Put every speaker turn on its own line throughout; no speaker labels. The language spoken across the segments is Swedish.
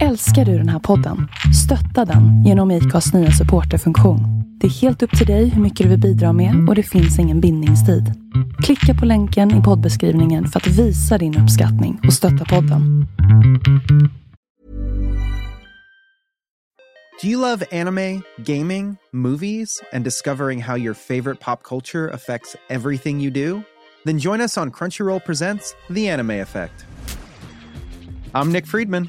Älskar du den här podden? Stötta den genom IKAs nya supporterfunktion. Det är helt upp till dig hur mycket du vill bidra med och det finns ingen bindningstid. Klicka på länken i poddbeskrivningen för att visa din uppskattning och stötta podden.
Do you love anime, gaming, movies, and discovering how your favorite pop culture affects everything you do? Then join us on Crunchyroll Presents The Anime Effect. I'm Nick Friedman.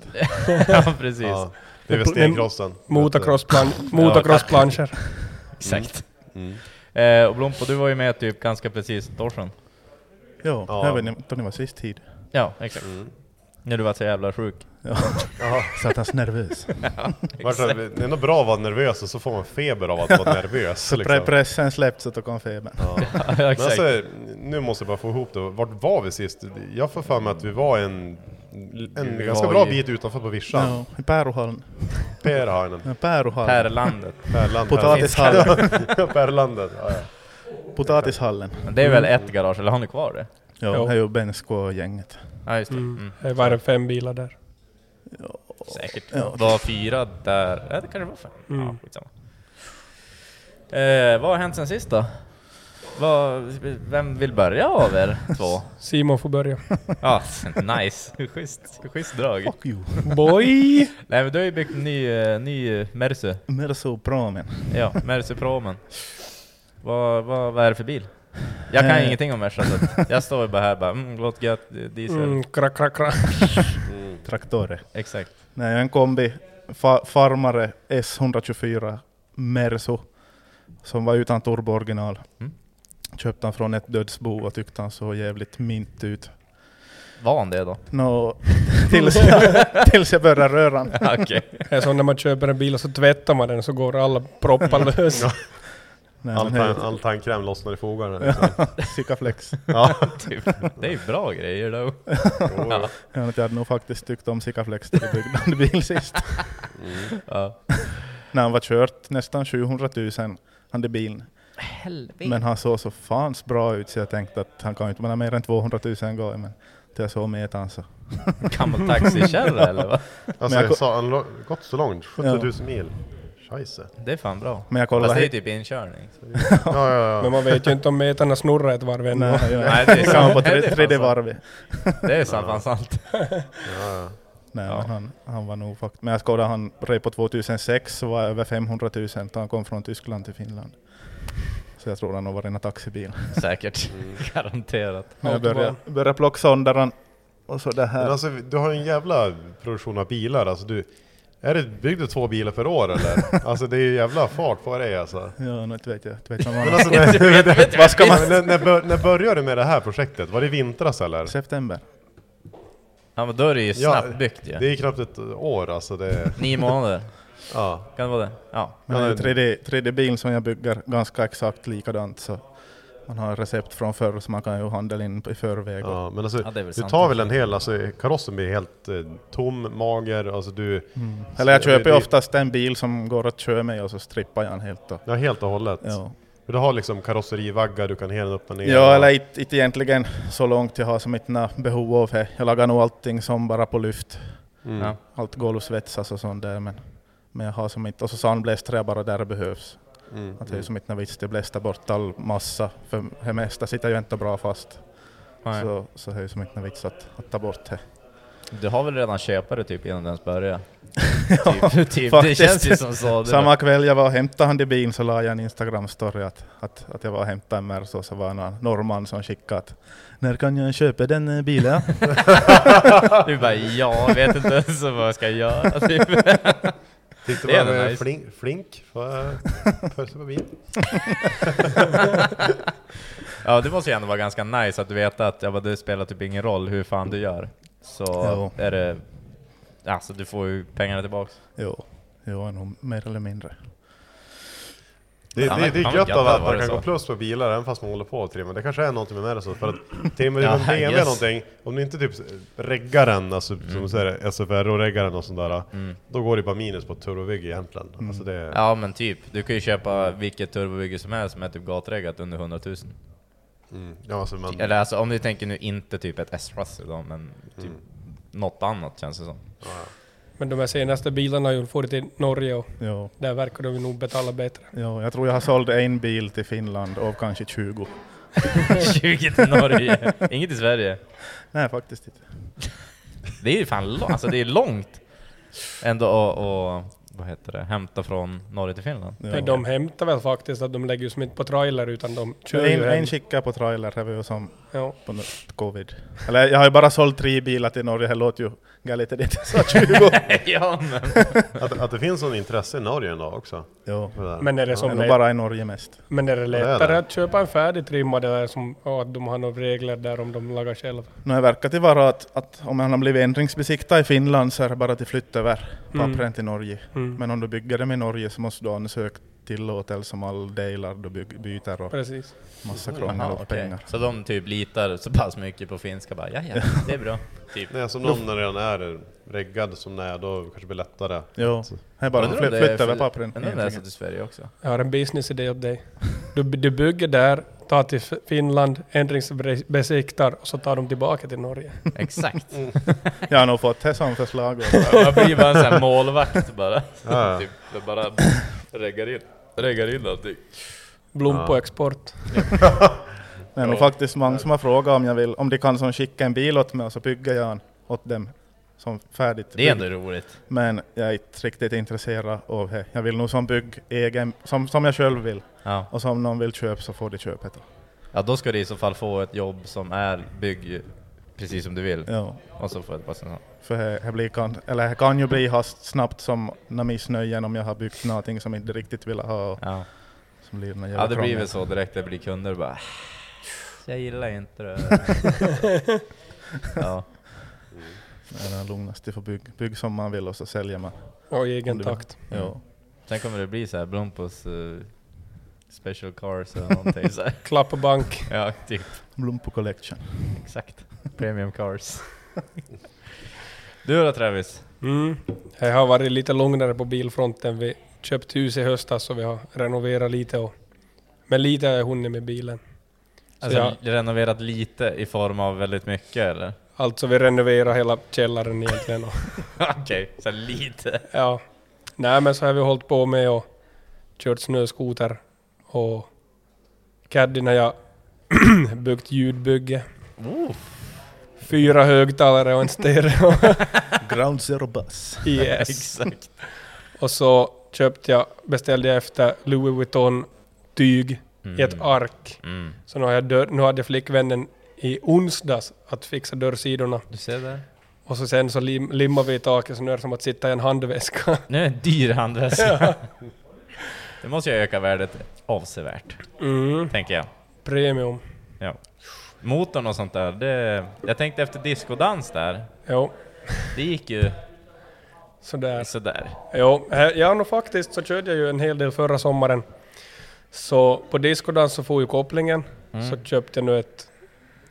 ja, precis.
Ja, bredvid stenkrossen.
Motocrossplan- Motocrossplanscher.
Exakt. Eh, och Blompo, du var ju med typ ganska precis ett år sedan.
Jo,
Ja.
det var ni- då ni var sist hit.
Ja, exakt. När du var så jävla sjuk.
Ja. Satans nervös.
Vart är Det det är nog bra att vara nervös och så får man feber av att vara nervös.
Pre
Liksom.
pressen släppts och då kom febern.
Ja,
Men alltså, nu måste jag bara få ihop det. Vart var vi sist? Jag får för mig att vi var en, en
Vi
ganska
var
bra
i-
bit utanför på vischan.
Ja, i Päruhallen.
Perhainen.
Ja, Päruhallen.
Pärlandet.
Pärland.
Potatishallen.
Pärlandet. Ja, ja.
Potatishallen.
Men Det är väl ett garage, eller har ni kvar det?
Mm. Ja,
Jo.
här är ju Bensko-gänget.
Ja, just det. Mm.
Det var det fem bilar där.
Säkert.
Ja.
Var fyra där. Ja, det kanske var fem. Ja, skitsamma. Eh, vad har hänt sen sist då? Vad, vem vill börja av er två?
Simon får börja.
Ja, nice. Schysst, schysst drag.
Fuck you.
Boy!
Nej men du har ju byggt en ny, eh, ny eh, Mercy.
Mersopramen.
Ja, Mercy Promen. Vad, vad, vad är det för bil? Jag kan
Eh.
ingenting om Merca, så att jag står ju bara här bara mm, låt gött, eh, diesel.
Mm, krack, krack, krack.
Traktore.
Exakt.
Nej, jag är en kombi. Fa farmare S124 Merso. Som var utan turbo original.
Mm.
Köpte han från ett dödsbo och tyckte han såg jävligt mint ut.
Var han det då?
Nå, tills, jag, tills jag började röra han.
Ja, Okej.
Det är som när man köper en bil och så tvättar man den så går alla proppar lös.
Nej,
All,
men
tan
hej,
all tandkräm lossnar i fogarna. liksom.
Sikaflex.
Ja.
Typ. Det är ju bra grejer då.
Jo, jo.
Jag vet inte, jag hade nog faktiskt tyckt om Sikaflex när jag byggde en bil sist.
Ja.
När han var kört nästan 700 000, hade bilen. Men han såg så fans bra ut så jag tänkte att han kan ju inte vara mer än 200 000 gånger. Men till jag såg metan så.
Gammal taxikärra eller vad?
Alltså,
Men jag ko-
jag sa, han lo- gått så långt? 70 000 mil? Scheisse.
Det är fan bra.
Men jag
Fast
kollade...
det är ju typ inkörning.
Ja, ja,
Men
ja.
man vet ju inte om metarna snurrar ett varv ännu.
Nej, jag,
Nej,
Nej,
det
det
är sant.
kan på
Det är
tre-
fan
tredje
sant.
varvet.
Det är sant, fan sant.
Nej, men han, han var nog faktiskt... Men jag skådade han redan på 2006 så var jag över 500 000 då han kom från Tyskland till Finland. Så jag tror han nog var rena taxibil.
Mm.
Säkert. Garanterat.
Men jag började, började plocka sönder han Och så det här.
Men alltså, du har ju en jävla produktion av bilar. Alltså, du, är det, byggde du två bilar per år eller? Alltså det är ju jävla fart på dig alltså.
Ja, något vet jag. Inte vet man
Men alltså, när, vad ska man, när, när, bör- när började du med det här projektet? Var det i vintras eller?
September.
Ja men då är det ju snabbbyggt ju.
Det är knappt ett år alltså. Det...
Nio månader.
ja.
Kan det vara det? Ja.
Men det är ju 3D, 3D-bil som jag bygger ganska exakt likadant så man har recept från förr så man kan ju handla in i förväg.
Ja, men alltså,
Ja, det är väl
du
sant.
tar väl en hel, alltså, karossen blir helt eh, tom, mager, alltså du...
Mm. Eller jag
Så
köper
det-
ju oftast en bil som går att köra med och så strippar jag den helt. Då.
Ja, helt och hållet.
Ja.
För Du har liksom karosserivaggar, du kan hela upp och ner.
Ja, eller inte, inte egentligen så långt jag har som inte behov av det. Jag lagar nog allting som bara på lyft.
Mm. Ja.
Allt golvsvetsas och sånt där. Men, men jag har som inte, och så sandblästrar jag bara där det behövs.
Mm,
Att det är
mm.
som inte någon vits det blästa bort all massa, för det mesta sitter ju inte bra fast.
Nej.
Så, så det är ju som inte någon vits att, att ta bort det.
Du har väl redan köpare typ innan du ens börjar?
Ja,
typ, typ. Det
faktiskt.
känns ju som så. Det
Samma kväll jag var och hämtade han i bilen så la jag en Instagram-story att, att, att jag var och hämtade en Merso, så var det någon norrman som skickade att när kan jag köpa den eh, bilen?
Du bara, jag vet inte ens vad jag ska göra typ.
Tyckte
Det är
man
ändå
var
nice.
flink, flink för för- på bil.
Ja det måste ju ändå vara ganska nice att du vet att ja, men det spelar typ ingen roll hur fan du gör. Så
Jo.
är det... Alltså du får ju pengarna tillbaks.
Jo, jo nog mer eller mindre.
Det, det,
Fan,
det,
vad- fan,
är
vad
gött
gött
av
det
att
var
man
det
kan
så.
gå plus på bilar även fast man håller på och trimmar. Det kanske är någonting med det så för att trimmar du
Ja,
en BMW
yes.
någonting, om du inte typ reggar den, alltså som du säger, SFR-reggar den och sånt där, då går det bara minus på turbovigg egentligen. Alltså det,
Ja men typ, du kan ju köpa vilket turbobygge som helst som är typ gatreggat under 100 000.
ja, alltså, man,
Eller alltså om du tänker nu inte typ ett S-Russell då, men typ något annat känns det som.
Men de här senaste bilarna har ju varit i Norge och
Jo.
där verkar de ju nog betala bättre.
Jo, jag tror jag har sålt en bil till Finland av kanske 20.
20 till Norge, inget i Sverige.
Nej, faktiskt inte.
Det är ju fan långt, alltså det är långt ändå att- att, vad heter det, hämta från Norge till Finland.
Men de hämtar väl faktiskt att de lägger ju som inte på trailer utan de kör
En,
ju hem.
en skickar på trailer, det var ju som
Ja.
på något covid. Eller jag har ju bara sålt tre bilar till Norge, det låter ju galet det inte så 20.
ja, men.
att, att det finns sån intresse i Norge ändå också.
Jo.
För det där.
Men är det som
Eller
lä-
bara i Norge mest.
Men är det
det är
lättare
det.
att köpa en färdigtrimmad eller som, ja, att de har några regler där om de lagar själva?
Nu har verkat det vara att, att om han har blivit ändringsbesiktad i Finland så är det bara att flytta över
Mm.
pappren till Norge.
Mm.
Men om du bygger det med Norge så måste du ansöka tillåtelse om all delar du byg- byter och
Precis.
massa krångel
Aha,
och
okej.
pengar.
Så de typ litar så pass mycket på finska bara, ja ja, det är bra. Typ.
Nej, alltså någon när den är reggad som den är, då kanske det blir lättare.
Jo, det är bara att
Undrar om
fly-
det är
flytta över
för-
pappren.
Undrar om det är så
egentligen.
till Sverige också.
Jag har en businessidé åt dig. Du, du bygger där, tar till F- Finland, ändringsbesiktar och så tar de tillbaka till Norge.
Exakt.
Jag har nog fått det som förslag.
Man blir bara en sån här målvakt bara.
Ja.
typ, bara reggar in, reggar in allting.
Blom på
Ja.
export.
Det är nog faktiskt många som har frågat om jag vill, om de kan som skicka en bil åt mig och så bygger jag en åt dem som färdigt.
Det är
byggd.
ändå roligt.
Men jag är inte riktigt intresserad av det. Jag vill nog som bygg egen, som, som jag själv vill.
Ja.
Och så om någon vill köpa så får de köpa det.
ja, då ska du i så fall få ett jobb som är bygg precis som du vill.
Ja.
Och så får jag bara sån
För det- det blir kan, eller det kan ju bli hast snabbt som några missnöjen om jag har byggt någonting som jag inte riktigt vill ha. Och
Ja.
som blir någon jävla
ja, det blir
krångel.
väl så direkt. Det blir kunder bara Jag gillar inte det. ja.
Det är det lugnaste, för bygg, bygg som man vill och så säljer man.
Och i egen
Om du vill.
takt.
Ja.
Sen kommer det bli så här Blompos eh, special cars eller någonting så här.
Klapp på bank.
Ja, typ.
Blompo Collection.
Exakt. Premium cars. du då Travis?
Mm. Jag har varit lite lugnare på bilfronten. Vi köpte hus i höstas så vi har renoverat lite. Och, men lite har jag hunnit med bilen. Så
Alltså
jag,
renoverat lite i form av väldigt mycket eller?
alltså vi renoverar hela källaren egentligen. Och,
Okej, så här lite.
ja. Nej men så har vi hållit på med och kört snöskoter. Och caddien har jag byggt ljudbygge. Fyra högtalare och en stereo.
Ground Zero Bus.
yes.
Exakt.
Och så köpte jag, beställde jag efter Louis Vuitton tyg i ett ark.
Mm.
Så nu, har jag dör, nu hade flickvännen i
i onsdags att fixa dörrsidorna.
Du ser där.
Och så sen så lim, limmar vi i taket så nu är det som att sitta i en handväska.
Nu är det en dyr handväska.
Ja.
Det måste ju öka värdet avsevärt.
Mm.
Tänker jag.
Premium.
Ja. Motorn och sånt där, det, jag tänkte efter diskodans där.
Jo.
Det gick ju
sådär.
sådär.
Jo, här- Eh, ja nog faktiskt så körde jag ju en hel del förra sommaren. Så på discodans så får ju kopplingen.
Mm.
Så köpte jag nu ett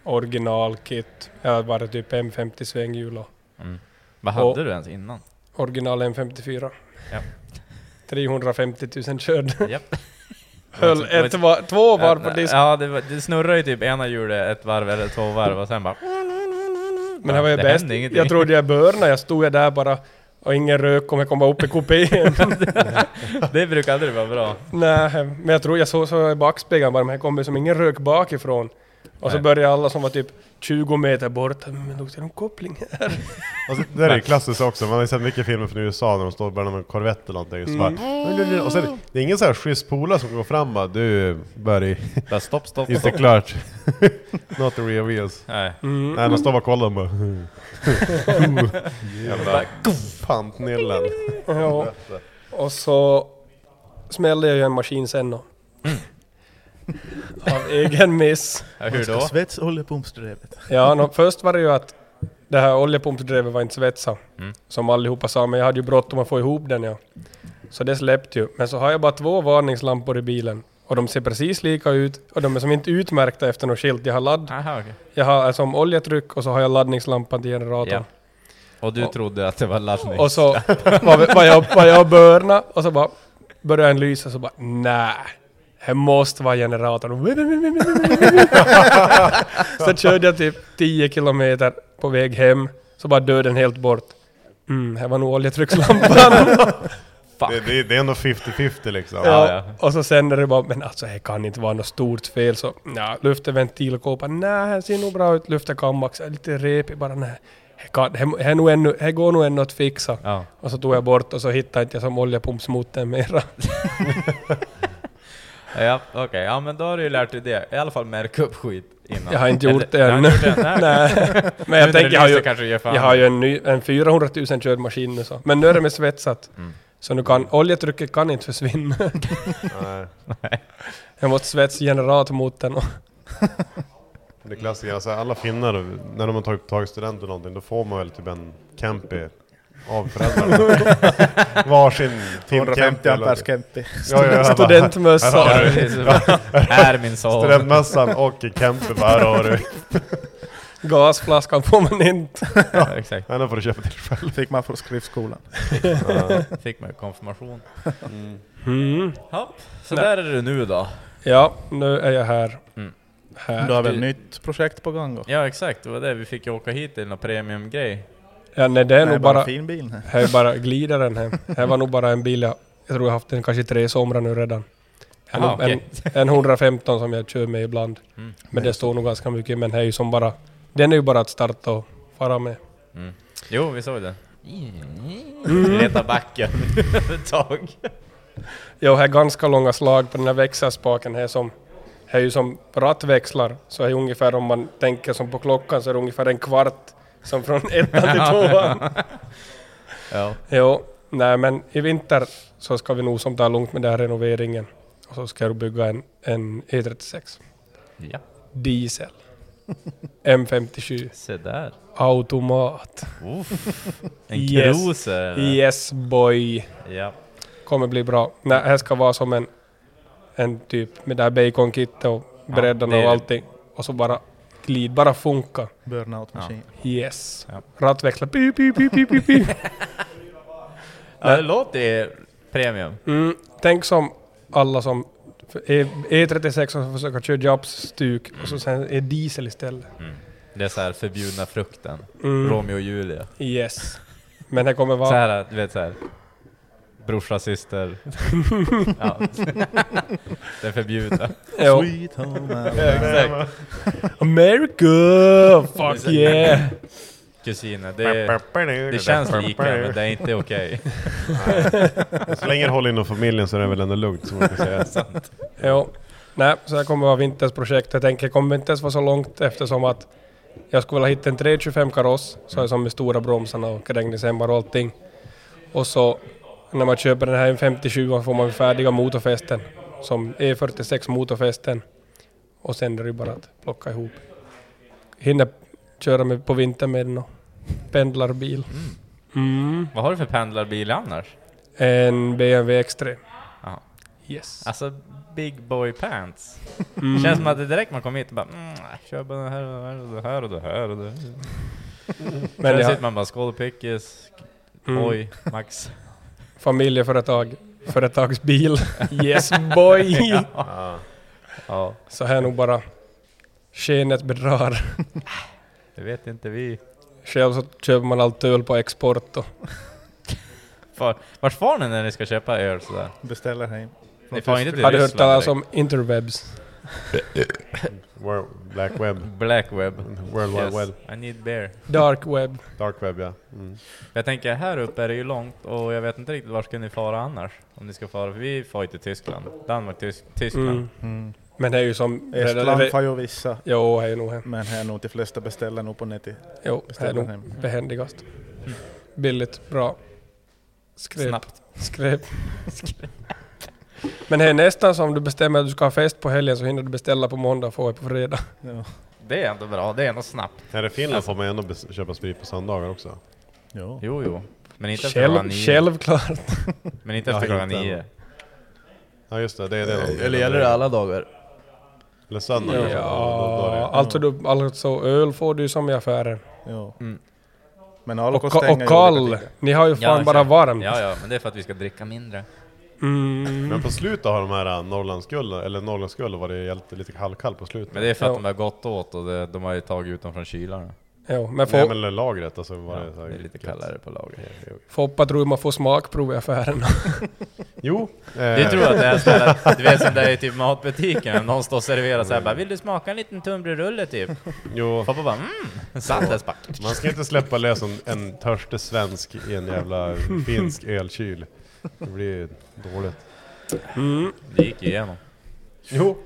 originalkit. Jag hade bara typ M50 svänghjul och...
Mm. Vad hade du ens innan?
Original M54.
Ja.
350 000 körd.
Japp.
Höll
Det var-
ett, var, två varv på
Ja,
disk.
Ja, det, var, det snurrade ju typ ena hjulet ett varv eller två varv och sen bara...
Men det här var ju
det
bäst.
hände ingenting.
Jag trodde jag började. Jag stod jag där bara och ingen rök kommer komma upp i kupén.
det brukar aldrig vara bra.
Nej, men jag tror jag såg så i backspegeln bara, men här kommer som ingen rök bakifrån. Och så
Nej.
började alla som var typ 20 meter bort, men luktar det om koppling här?
Alltså, det där är ju klassiskt också, man har ju sett mycket filmer från USA när de står bland en korvett eller någonting och så bara,
Mm.
och sen, Det är ingen så här schysst polare som går fram och bara, du Barry,
Bara, stopp, stopp,
inte
stopp."
klart. Not the real wheels.
Nej.
Mm. Nej, de står bara och kollar och bara... Jävla
Bara,
pantnillen.
ja. Och så smällde jag ju en maskin sen då. Av egen miss.
Man ska Svets oljepumpsdrevet.
Ja, nå, först var det ju att det här oljepumpsdrevet var inte svetsat.
Mm.
Som allihopa sa, men jag hade ju bråttom att få ihop den ja. Så det släppte ju. Men så har jag bara två varningslampor i bilen. Och de ser precis lika ut och de är som inte utmärkta efter något skilt. Jag har ladd...
Aha, okej.
Jag har alltså om oljetryck och så har jag laddningslampan till generatorn.
Ja. Och du trodde att det var laddning.
Och så var, vi- var jag, var jag och börna och så bara började den lysa så bara nej. Det måste vara generatorn. så körde jag typ 10 kilometer på väg hem. Så bara död den helt bort. Mm, här var nog oljetryckslampan.
det, det, det är ändå 50-50 liksom.
Ja, Och så sen är det bara, men alltså det kan inte vara något stort fel. Så ja, lufteventilkåpa, nej, det ser nog bra ut. Luftekammax, är lite repig bara, nej. Det kan- det- det är nog ännu- Det går nog ännu att fixa.
Ja.
Och så tog jag bort och så hittade inte jag som oljepumpsmotorn mera.
Ja, okej. Ja, men då har du ju lärt dig det. I alla fall märka upp skit innan.
Jag har inte gjort det
Eller-
än.
Du har inte gjort det än?
Nej. Men
Nu när
jag tänker,
det
jag har
lyser
ju,
kanske gör fan.
jag har ju en, ny, en 400 000 körd maskin nu så. Men nu är det med svetsat. Så nu kan, oljetrycket kan inte försvinna.
Nej.
jag måste svetsa generatormotorn och...
Det klassiska, alltså alla finnar, när de har tagit, tagit student eller någonting, då får man väl typ en campy av föräldrarna. Varsin Tim
250
Campy eller
ampers
något.
campy.
Ja, ja, jag bara-
Studentmössa.
Här har du.
Ja, precis. Här är min son.
Studentmössan och campy, bara här har du.
Gasflaskan får man inte.
Ja, exakt.
Den får du köpa till dig själv.
Fick man från skriftskolan.
Fick man ju konfirmation.
Mm.
Ja, så där är du nu då.
Ja, nu är jag här.
Mm.
här.
Du har väl nytt projekt på gång då?
Ja, exakt. Det var det. Vi fick ju åka hit till någon premiumgrej.
Ja, nej, det är
Nej,
nog
bara
bara...
fin bil här.
Här är bara glidaren här. Här var nog bara en bil jag... Jag tror jag haft den kanske tre somrar nu redan. Här är
Ah,
nog en,
okej.
en 115 som jag kör med ibland.
Mm.
Men det står nog ganska mycket. Men här är ju som bara... Den är ju bara att starta och fara med.
Mm. Jo, vi såg det. Vi letade backen ett tag.
Jo, här är ganska långa slag på den här växelspaken här som... Här är ju som rattväxlar. Så här är ungefär om man tänker som på klockan så är det ungefär en kvart. Som från ettan till tvåan.
Ja.
Jo, nej men i vinter så ska vi nog som ta lugnt med den här renoveringen. Och så ska jag bygga en, en E36.
ja,
Diesel. M57.
se där.
Automat.
Uff. En
Yes.
cruiser. eller?
Yes boy.
Ja.
Kommer bli bra. Nej, här ska vara som en, en typ med det här baconkittet och
Ja,
breddarna
det är-
och allting. Och så bara glid, bara funka.
Burnout-maskin.
Yes.
Ja.
Rattväxlar. Pip, pip, pip, pip, pip, pip.
ja, det låter ju premium.
Mm, tänk som alla som för E- E36 som försöker köra Japs stuk och så sen är diesel istället.
Mm. Det är så här förbjudna frukten.
Mm.
Romeo och Julia.
Yes. Men det kommer
Så
vara...
här, du vet så här. Brorsa, syster. ja. Det är förbjudna.
Jo.
Sweet home
Exakt.
America! Fuck
Precis.
yeah!
Kusiner, det, det känns lika men det är inte okej.
Så länge det håller inom familjen så är det väl ändå lugnt, som man kan säga.
Jo. Nej, så här kommer vara vinterns projekt. Jag tänker, det kommer inte ens vara så långt eftersom att jag skulle vilja hitta en 325 kaross, så här som med stora bromsarna och regningshämmare och allting. Och så när man köper den här en 57 får man färdiga motorfästen, som E46 motorfästen. Och sen är det ju bara att plocka ihop. Hinner köra med, på vintern med den och pendlarbil. Mm.
Vad har du för pendlarbil annars?
En BMW X3.
Jaha.
Yes.
Alltså, big boy pants.
Mm.
Känns som att det direkt man kommer hit och bara mm, jag kör bara det här och det här och det här och det här och det här.
Men
Men
jag-
sitter man bara skål och pickis,
Mm.
oj, max.
Familjeföretag. Företagsbil. Yes boy!
Ja. ja,
Så här nog bara skenet bedrar.
det vet inte vi.
Själv så köper man allt öl på export och
Far, vart far ni när ni ska köpa öl sådär?
Beställer hem.
Ni far inte till
Har du hört
Ryssland
talas
direkt?
om interwebs?
World, black web.
Black web.
World wide web.
I need beer.
Dark web.
Dark web ja. Mm.
Jag tänker här uppe är det ju långt och jag vet inte riktigt vart ska ni fara annars? Om ni ska fara, för vi far ju till Tyskland. Danmark, Tysk, Tyskland.
Mm.
Mm.
Men det är ju som...
Estland har ju vissa.
Jo, här är nog hem.
Men här är nog de flesta beställer nog på nätet.
Jo, här är
Beställer
nog
hem.
behändigast. Billigt, bra. Skräp.
Mm. Snabbt.
Skräp. Men det är nästan som du bestämmer att du ska ha fest på helgen så hinner du beställa på måndag och få det på fredag.
Ja.
Det är ändå bra, det är ändå snabbt.
Här i Finland får man ju ändå bes- köpa sprit på söndagar också.
Jo.
Jo, jo. Men inte efter klockan
Själv,
nio.
självklart.
Men inte
Ja,
efter klockan
inte än.
nio.
Ja just det, det är
Eh,
det. de-
Eller gäller det alla dagar?
Eller söndagar.
Ja,
då- då- då är det-
alltså, du, alltså öl får du ju som i affären.
Jo.
Mm.
Men
Och,
Alko
ka-
stänger
och
ju
kall,
olika tider.
ni har ju fan
Ja,
bara
kör.
varmt.
Ja, ja, men det är för att vi ska dricka mindre.
Mm.
Men på slutet har de här Norrlandsgulden, eller Norrlandsgulden var det hjälpte lite halvkall på slutet.
Men det är för att
Ja.
de har gått åt och det, de har ju tagit ut dem från kylarna.
Jo, men
Nej
få,
men lagret alltså var det, så här
Det är lite
gött.
kallare på lager.
Foppa tror man får smakprov i affären.
Jo.
Du tror att det är stället, du vet som det är i typ matbutiken, någon står och serverar såhär bara Vill du smaka en liten tunnbrödsrulle typ?
Jo,
Pappa bara mm, saltespack.
man ska inte släppa lös en, en Mm, törstig svensk i en jävla finsk ölkyl. Det blir dåligt.
Det gick igenom.
Jo.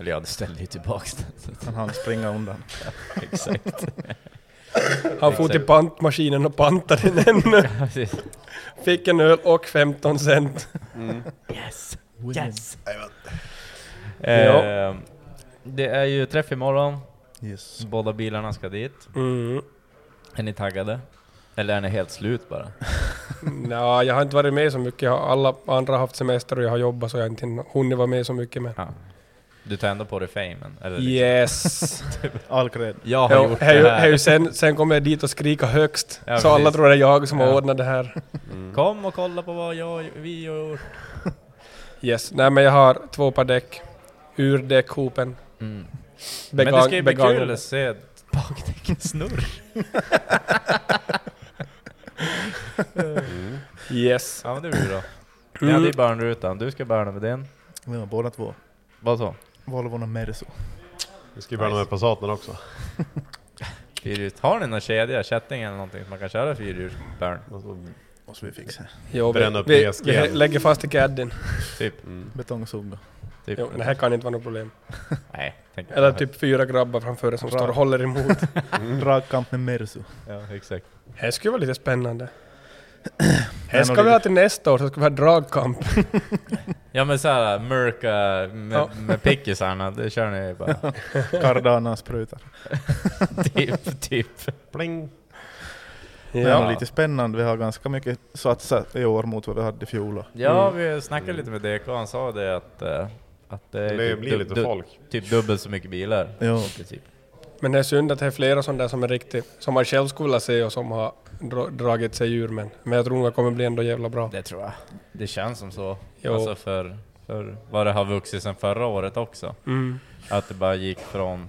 Eller ja, det ställde ju tillbaks den.
Han hann springa undan.
Exakt.
Han for till pantmaskinen och pantade den ännu.
Precis.
Fick en öl och 15 cent.
Yes! Yes!
Ja.
Eh, det är ju träff imorgon.
Yes.
Båda bilarna ska dit.
Mm.
Är ni taggade? Eller är ni helt slut bara?
Nja, jag har inte varit med så mycket. Jag har- Alla andra har haft semester och jag har jobbat så jag har inte hin- hunnit vara med så mycket. Men
Ja. Du tar ändå på dig famen? Eller liksom,
yes!
Alkred.
Jag har
Jo,
gjort
hej-
det här.
hej, sen, sen kommer jag dit och skrika högst.
Ja,
så alla
precis.
tror det är jag som har
Ja. Mm.
ordnat det här.
Kom och kolla på vad jag, vi gör.
Yes. Nej men jag har två par däck. Ur däckhopen.
Mm. Men det
Began-
ska ju bli
begagnade.
kul att se bakdäcken snurr.
Yes.
Ja men det blir bra. Ni hade ju barnrutan, du ska börna med din.
Ja, båda två.
Vad så?
Volvon och Merso.
Vi ska ju börja med Passaten också.
Fyrhjuls. Har ni någon kedja, kätting eller någonting som man kan köra fyrhjulsbarn?
Alltså,
Måste vi fixa.
Jo,
Bränna upp
vi,
PSG.
vi lägger fast i cadden.
Typ.
Betongsuga.
typ.
Jo, det här kan inte vara något problem.
Nej, tänk
Eller typ fyra grabbar framför er som står och håller emot.
Dragkamp med Merso.
Ja, exakt.
Här skulle vara lite spännande. Här
Men
ska
och
vi
det-
ha till nästa år, så ska vi ha dragkamp.
Ja men såhär, mörka med,
Ja.
med pickisarna, det kör ni bara.
Cardana sprutar.
typ, typ.
Pling!
Ja. Men lite spännande. Vi har ganska mycket satsat i år mot vad vi hade i fjol.
Ja, vi snackade lite med DK, han sa det att, eh, att det, är
Det
typ
blir
dub-
lite
du-
folk.
Typ dubbelt så mycket bilar.
Jo.
I princip.
Men det är synd att det är flera sådana där som är riktigt, som man själv skulle vilja se och som har dra, dragit sig ur. Men, men jag tror nog det kommer bli ändå jävla bra.
Det tror jag. Det känns som så.
Jo.
Alltså för, för vad det har vuxit sedan förra året också.
Mm.
Att det bara gick från...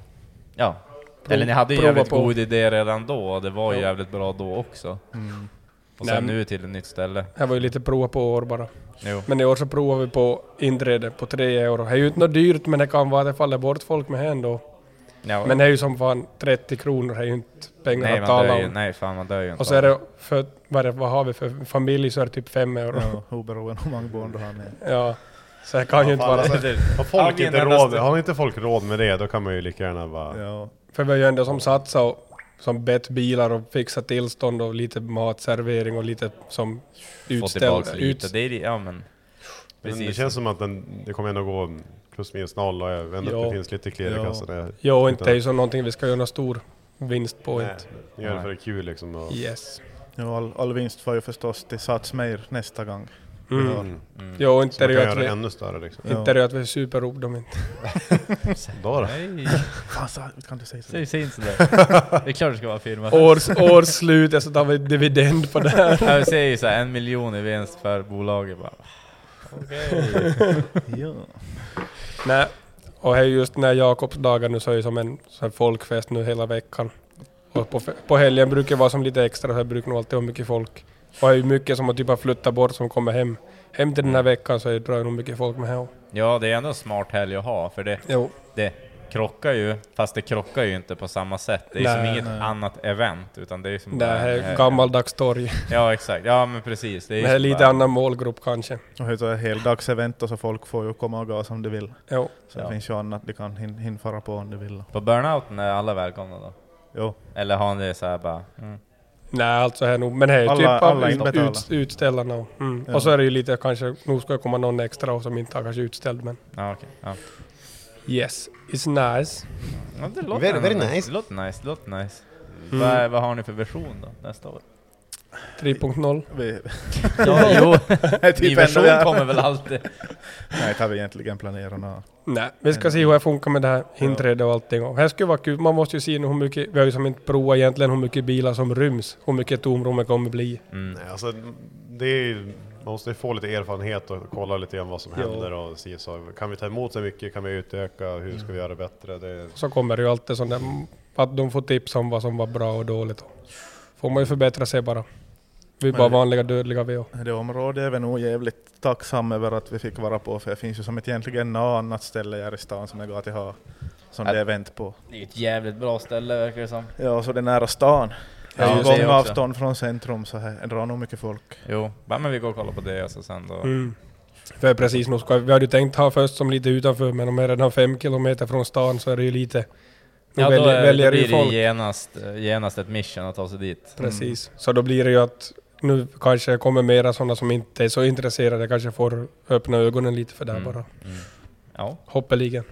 Ja.
Prov-
Eller ni hade ju
prova
jävligt
på.
god idé redan då och det var ju
Ja.
jävligt bra då också. Och
Nej,
sen
men-
nu till ett nytt ställe.
Det här var ju lite prova på år bara.
Jo.
Men i år så provar vi på inträde på tre euro. Det är ju inte något dyrt men det kan vara att det faller bort folk med här ändå.
Ja,
Men det är ju som fan 30 kronor, det är ju inte pengar
nej,
att
man
tala
dör ju,
om.
nej fan man dör ju inte.
Och så är det för, vad, är det, vad har vi för familj så är det typ fem euro.
Ja, oberoende hur många barn du har med.
Ja.
Så jag kan ju inte bara...
Har folk, inte råd, har inte folk råd med det, då kan man ju lika gärna bara...
För vi har ju ändå som satsat och som bett bilar och fixat tillstånd och lite matservering och lite som utställ...
tillbaks lite, det är det- ja, men-
Men det
precis.
känns som att den, det kommer ändå gå plus minus noll och jag vet att det finns lite klirr i kassan. Jag-
Ja, och inte är ju som någonting vi ska göra någon stor vinst på.
Nej,
inte.
vi gör det för det är kul liksom. Och...
Yes.
Ja, all, all vinst får ju förstås till Sats mer nästa gång.
Mm.
Ja.
Ja, och inte
Så
är det
man
ju
kan
att
göra
vi...
det ännu större, liksom.
Inte är det ju att vi super upp dem inte.
Då då.
Nej.
Fan, sa- kan du säga så?
Säg, säg inte sådär. Det är klart det ska vara firma.
Års, årsslut, alltså tar vi dividend på det här.
Ja, vi säger ju såhär en miljon i vinst för bolaget bara. Okej.
ja.
Nej, och här just när Jakobs dagar nu så är det som en så här folkfest nu hela veckan. Och på, fe- på helgen brukar det vara som lite extra, så här brukar nog alltid vara mycket folk. Och det är ju mycket som har typ har flyttat bort som kommer hem. Hem till den här veckan så är det- drar det nog mycket folk med hem.
Ja, det är ändå en smart helg att ha, för det, det krockar ju, fast det krockar ju inte på samma sätt. Det är
Nej,
som inget
nej.
annat event, utan det är som...
Det här
en
är
helg.
gammaldags torg.
Ja, exakt. Ja, men precis. Det är,
Det
ju
här är
som
lite
bara-
annan målgrupp kanske.
Och det är heldagsevent och så folk får ju komma och gå som de vill.
Jo.
Så
Ja.
det finns ju annat de kan hin, hin fara på om de vill.
På burnouten är alla välkomna då?
Jo.
Eller har ni det såhär bara... Mm.
Nej, alltså här nog, men här är
Alla-
typ
alla
alla ut,
inbetala.
ut, utställarna. och- Mm.
Ja.
Och så är det ju lite kanske, nog ska det komma någon extra och som inte har kanske utställd men...
Ja, okej. Ja.
Yes, it's nice.
Ja, det låter
Very-
ändå
very
nice.
nice.
Det låter nice, det låter nice.
Mm.
Vad, vad har ni för version då, nästa år?
3.0.
Vi...
Ja, jo.
Nej, typ
Min version
ändå, ja.
kommer väl alltid.
Nej, det har vi egentligen planerat något.
Nej, vi ska se hur det funkar med det här inträdet och allting. Och här skulle vara kul, man måste ju se nu hur mycket, vi har ju som inte provat egentligen hur mycket bilar som ryms, hur mycket tomrummet kommer bli.
Mm.
Nej, alltså, det är, ju- man måste ju få lite erfarenhet och kolla lite grann vad som
Ja.
händer och si och så. Kan vi ta emot så mycket? Kan vi utöka? Hur ska vi göra det bättre? Det är,
Så kommer det ju alltid sånt där, att de får tips om vad som var bra och dåligt. Får man ju förbättra sig bara. Vi är
Men
bara
det-
vanliga dödliga vi och.
Det området är vi nog jävligt tacksam över att vi fick vara på, för det finns ju som ett egentligen något annat ställe här i stan som det går att ha som det är vänt på.
Det är ju ett jävligt bra ställe verkar det som.
Ja, och så det är nära stan.
Ja,
Det är
det
ju
säger jag också.
gångavstånd från centrum, så här det drar nog mycket folk.
Jo, bara, men vi går och kollar på det och så sen då.
Mm. För precis, nog ska, vi hade ju tänkt ha först som lite utanför, men om jag redan fem kilometer från stan så är det ju lite...
Ja,
Nu
då,
väljer,
är,
väljer
då
ju
blir det Mm.
folk.
genast, genast ett mission att ta sig dit.
Precis. Så då blir det ju att nu kanske det kommer mera sådana som inte är så intresserade kanske får öppna ögonen lite för det här
Mm.
bara.
Mm. Ja.
Hoppeligen.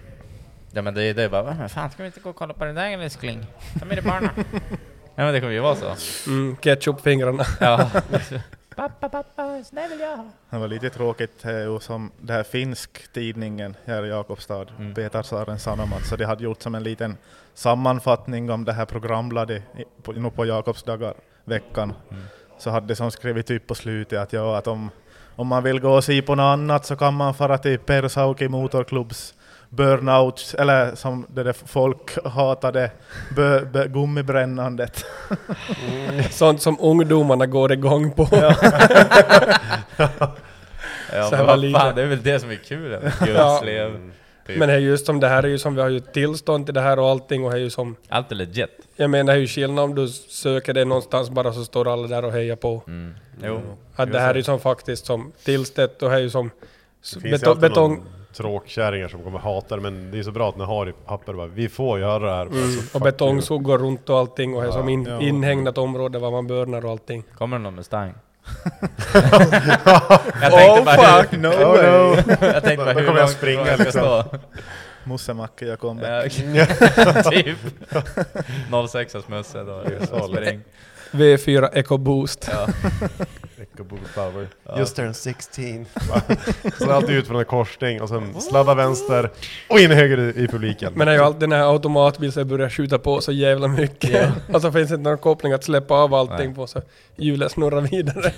Ja men det är det är bara, "Va, men fan ska vi inte gå och kolla på den där älskling? Ta med dig barnen. ja men det kommer ju vara så.
Mm, ketchupfingrarna.
Ja.
Pappa, pappa, sån där vill jag ha.
Det var lite tråkigt eh, och som den här finsk tidningen här i Jakobstad, Petarsaaren Sanomat, så de hade gjort som en liten sammanfattning om det här programbladet i- på, nu på Jakobsdagar, veckan.
Mm.
Så hade de som skrivit typ på slutet att, ja, att om, om man vill gå och se på något annat så kan man fara till Persauki motorklubbs burnout, eller som det där folk hatade, bö, bö, gummibrännandet.
Sånt som ungdomarna går igång på.
Ja,
Så
men
här
vad
var
fan,
lite.
det är väl det som är kul, att gudslev, typ.
Men det är just som det här är ju som vi har ju tillstånd till det här och allting och det är ju som...
Allt är legit.
Jag menar det är ju skillnad om du söker det någonstans bara så står alla där och hejar på.
Jo.
Att det här är ju som faktiskt som tillställt och det är ju som...
Mm. det finns ju
Betong...
alltid
betong
någon tråkkärringar som kommer hata det, men det är så bra att ni har i papper bara, vi får göra det här.
Mm.
Alltså,
och
fuck you.
betongsåg går runt och allting och här
Ja.
som in,
Ja.
inhägnat område var man börnar och allting.
Kommer det någon Mustang?
oh fuck, no way!
liksom.
Mossemacke, jag kommer.
Ja, okej. typ. 06 mössa då. Spring.
V4 EcoBoost.
Ja.
EcoBoost power.
Ja.
Just turned 16. sen alltid ut från en korsning och sen sladda vänster och in höger i, i publiken.
Men det är ju alltid den här automatbilen som börjar skjuta på så jävla mycket.
Ja.
Och så finns det inte någon koppling att släppa av allting
Nej.
på så hjulen snurrar vidare.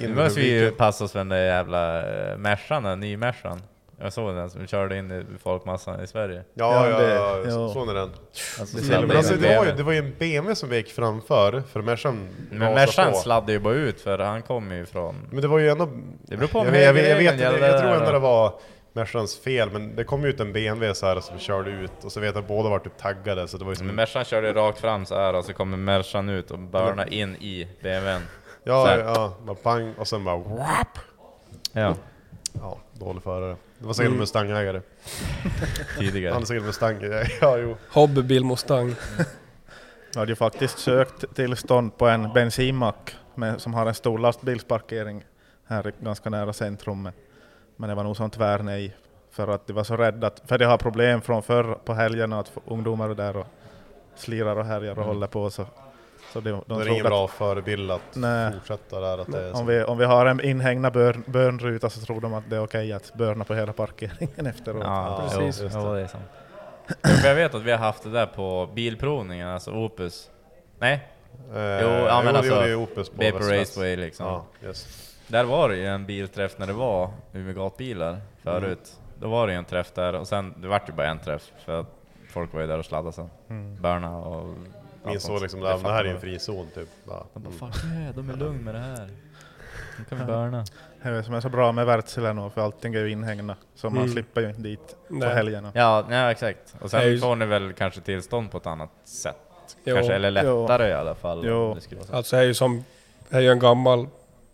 Nu måste vi ju passa oss för den där jävla eh, Mercan, den nya Mercan. Jag såg den som körde in i folkmassan i Sverige.
Ja, ja,
det-
ja,
ja.
så- såg ni den?
Alltså,
Det
sladdade
men alltså,
in
det, var ju,
BMW.
det var ju en BMW som vi gick framför, Eh, för Mercan
Men Mercan sladdade ju bara ut för han kom ju från...
Men det var ju ändå...
Det beror på om
jag, jag, jag,
högerregeln
jag, vet, jag,
gäller
jag tror
där
ändå
då.
det var Mercans fel, men det kom ut en BMW så här som körde ut och så vet jag att båda var typ taggade så det var ju som...
Men Mercan körde rakt fram så här och så kommer Mercan ut och börna in i BMWn. Så
Ja,
här.
ja, bara pang och sen bara... Wap.
Ja.
Ja, dålig förare. Det var säkert
Mm.
en Mustangägare.
Tidigare.
Han är säkert Mustangägare, ja jo.
Hobbybil Mustang.
Jag hade ju faktiskt sökt tillstånd på en bensinmack med, som har en stor lastbilsparkering här i- ganska nära centrum. men- Men det var nog sånt tvär nej. För att de var så rädda, att, för de har problem från förr på helgerna att få- ungdomar är där och slirar och härjar och
Mm.
håller på. Så, så de, de
det är
tror
ingen
att-
bra förebild att
Nej.
fortsätta där. Att det är så.
Om vi, om vi har en inhägnad börn, bönruta så tror de att det är okej att böna på hela parkeringen efteråt.
Ja, precis. Jo, jo, det är sant. För Jag vet att vi har haft det där på bilprovningen, alltså Opus. Nej?
Eh,
jo, ja, men
jo,
alltså,
jo, det är Opus på
Vapor
Västerås.
Raceway liksom.
Ja,
Där var det ju en bilträff när det var Umeå gatbilar förut.
Mm.
Då var det ju en träff där och sen, det vart ju bara en träff för att folk var ju där och sladdade sen.
Mm.
Börna och... allt
Min såg
sånt.
liksom, det här, det
fattar
här är
man.
en frizon typ. Ja.
De bara,
Mm.
fuck yeah, de är lugna med det här. De kan vi börna.
Det är det som är så bra med Wärtsilä nu, för allting är ju inhägnat. Så man
Mm.
slipper ju dit på
Nej.
helgerna.
Ja, ja exakt. Och
Det är
sen
ju-
får ni väl kanske tillstånd på ett annat sätt.
Jo,
Kanske, eller
jo.
lättare i alla fall. om
Jo.
det skulle vara så.
Alltså det är ju som, det är ju en gammal,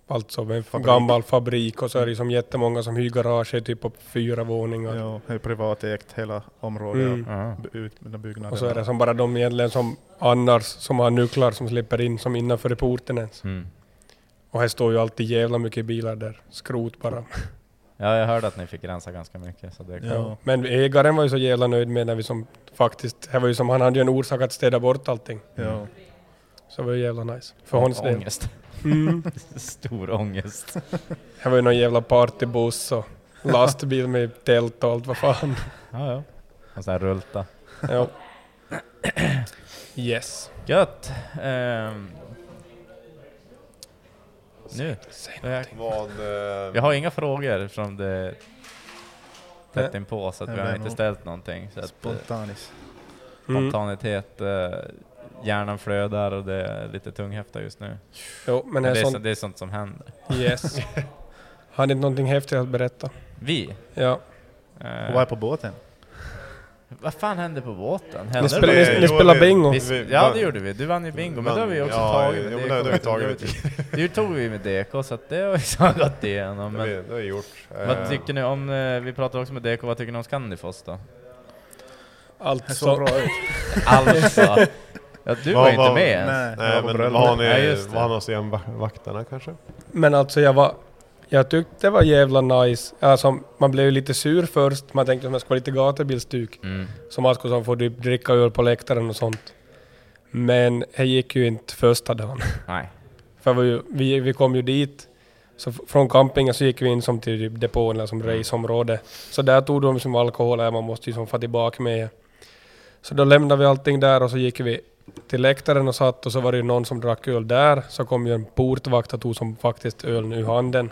alltså en
Fabrik.
gammal fabrik och så är det ju som jättemånga som hyr garage typ på fyra våningar.
Jo, det är privatägt hela området
Mm.
och by- ut med byggnaderna.
Och så är det som bara de egentligen som annars, som har nycklar som slipper in som innanför i porten ens.
Mm.
Och här står ju alltid jävla mycket bilar där, skrot bara.
Ja, jag hörde att ni fick rensa ganska mycket. Så det kan...
Ja. Men ägaren var ju så jävla nöjd med när vi som faktiskt, här var ju som, han hade ju en orsak att städa bort allting. Mm.
Ja.
Så det var ju jävla nice. För hans del.
Ångest.
Mm.
Stor ångest.
Här var ju någon jävla partybuss och lastbil med tält och allt vad fan.
Ja, ja. Och sen rulta.
Ja. Yes.
Gött! Ehm, nu.
Mm.
Vad, eh,
Vi har inga frågor eftersom det är tätt
Nej.
inpå så att
Nej,
vi har
men
inte
nog-
ställt någonting. Så att, eh,
Spontanis.
Mm.
Spontanitet, eh, hjärnan flödar och det är lite tunghäfta just nu.
Jo, men
det,
det är
är
sånt-
så, det är sånt som händer.
Yes. Har ni någonting häftigt att berätta?
Vi? Eh,
Ja.
Och vad är på båten?
Vad fan hände på båten?
Ni spelar- ni- ni spelar bingo.
Vi, ja det gjorde vi, du vann ju bingo, men det har vi också
Ja,
tagit
jo,
med
men det har vi tagit.
Det, det tog vi med DK, så att det har vi så gått igenom.
Det
Men
har vi- det har vi gjort. Eh.
Vad tycker ni om, eh, vi pratar också med DK, vad tycker ni om Scandifoss då?
Allt
såg bra ut.
alltså. Ja, du var,
Vad-
ju inte
vad-
med ens.
Nej, nej men vad har ni, vad har ni att säga om vak- vakterna kanske?
Men alltså jag var... Jag tyckte det var jävla nice. Alltså, man blev ju lite sur först, man tänkte att man skulle vara lite gatubilstuk.
Mm.
Som Asko sa, får du dricka öl på läktaren och sånt. Men det gick ju inte första dagen.
Nej.
För vi, vi, vi kom ju dit, så f- från campingen så gick vi in som till typ depån eller som raceområde. Så där tog de som alkohol, här, man måste ju som få tillbaka med. Så då lämnade vi allting där och så gick vi till läktaren och satt och så var det ju någon som drack öl där. Så kom ju en portvakt och tog som faktiskt öl ur handen.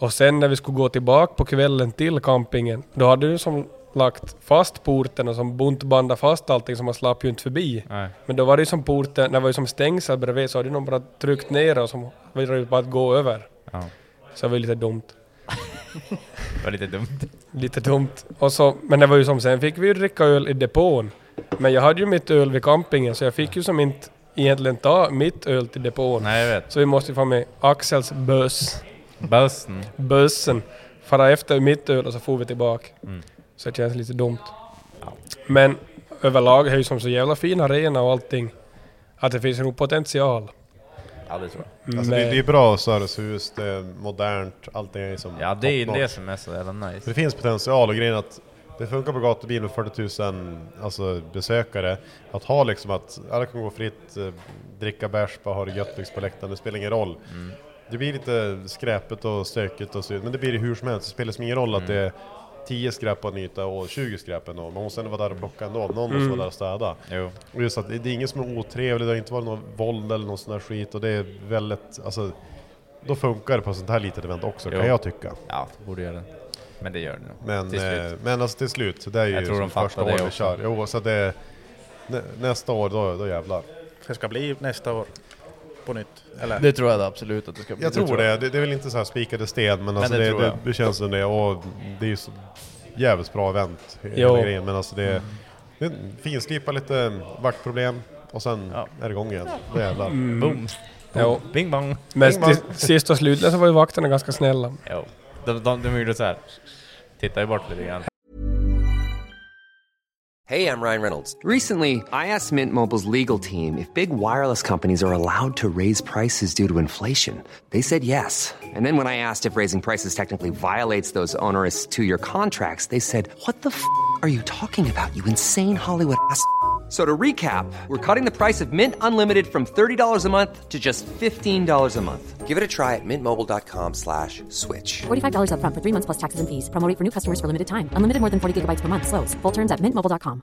Och sen när vi skulle gå tillbaka på kvällen till campingen, då hade du som lagt fast porten och som buntbandat fast allting så man slapp ju inte förbi.
Nej.
Men då var det ju som porten, när det var ju som stängsel bredvid så hade någon bara tryckt ner och som var det ju bara att gå över.
Ja.
Så det var ju lite dumt.
Det var lite dumt.
Lite dumt. Och så, men det var ju som sen fick vi ju dricka öl i depån. Men jag hade ju mitt öl vid campingen så jag fick ju som inte egentligen ta mitt öl till depån.
Nej, jag vet.
Så vi måste ju få med Axels buss.
Bussen.
Bussen. Fara efter mitt öl och så får vi tillbaka.
Mm.
Så det känns lite dumt. Men överlag är det ju som så jävla fin arena och allting. Att det finns nog potential.
Ja det tror
jag.
Alltså, det, det är bra servicehus, det är modernt, allting är som
Ja det är ju
top-notch.
det som är så jävla nice.
Det finns potential och grejen är att det funkar på gatubil med 40 000 alltså, besökare. Att ha liksom att alla kan gå fritt, eh, dricka bärs, bara ha det gött liksom, på läktaren, det spelar ingen roll.
Mm.
Det blir lite skräpigt och stökigt och så, men det blir det hur som helst. Det spelar liksom ingen roll
Mm.
att det är 10 skräp på en yta och 20 skräp ändå. Man måste ändå vara där och plocka ändå, någon måste
Mm.
vara där och städa.
Jo.
Och just att det det är ingen som är otrevlig, det har inte varit någon våld eller någon sån där skit och det är väldigt, alltså då funkar det på sånt här litet event också
Jo.
kan jag tycka.
Ja, det borde göra det. Men det gör det nog.
Men,
Till slut.
eh, men alltså till slut, så det är ju
Jag tror de
som första
fattar det
året vi
också.
kör. Jo, så det är, nä, nästa år, då, då jävlar.
Det ska bli nästa år. På nytt. Eller?
Det
tror jag absolut att det ska
Jag tror det, det, det är väl inte så här spikade sten, men, alltså
det
det,
tror
det,
jag.
det känns som det. Och det är ju så jävligt bra event, hela
Jo.
grejen. Men alltså det,
Mm.
det finslipa lite vaktproblem och sen är det igång igen. Då jävlar.
Mm. Boom.
Jo.
Bing bong.
Men
Bing bong.
sti- sist och slutligen så var ju vakterna ganska snälla.
Jo. De, de, de gjorde så här. Tittar ju bort lite grann.
Hey, I'm Ryan Reynolds. Recently, I asked Mint Mobile's legal team if big wireless companies are allowed to raise prices due to inflation. They said yes. And then when I asked if raising prices technically violates those onerous two year contracts, they said, What the f are you talking about, you insane Hollywood ass? f- So to recap, we're cutting the price of Mint Unlimited from $30 a month to just $15 a month. Give it a try at mintmobile.com slash switch.
$45 upfront for three months plus taxes and fees. Promo rate for new customers for limited time. Unlimited more than 40 gigabytes per month. Slows. Full terms at mintmobile.com.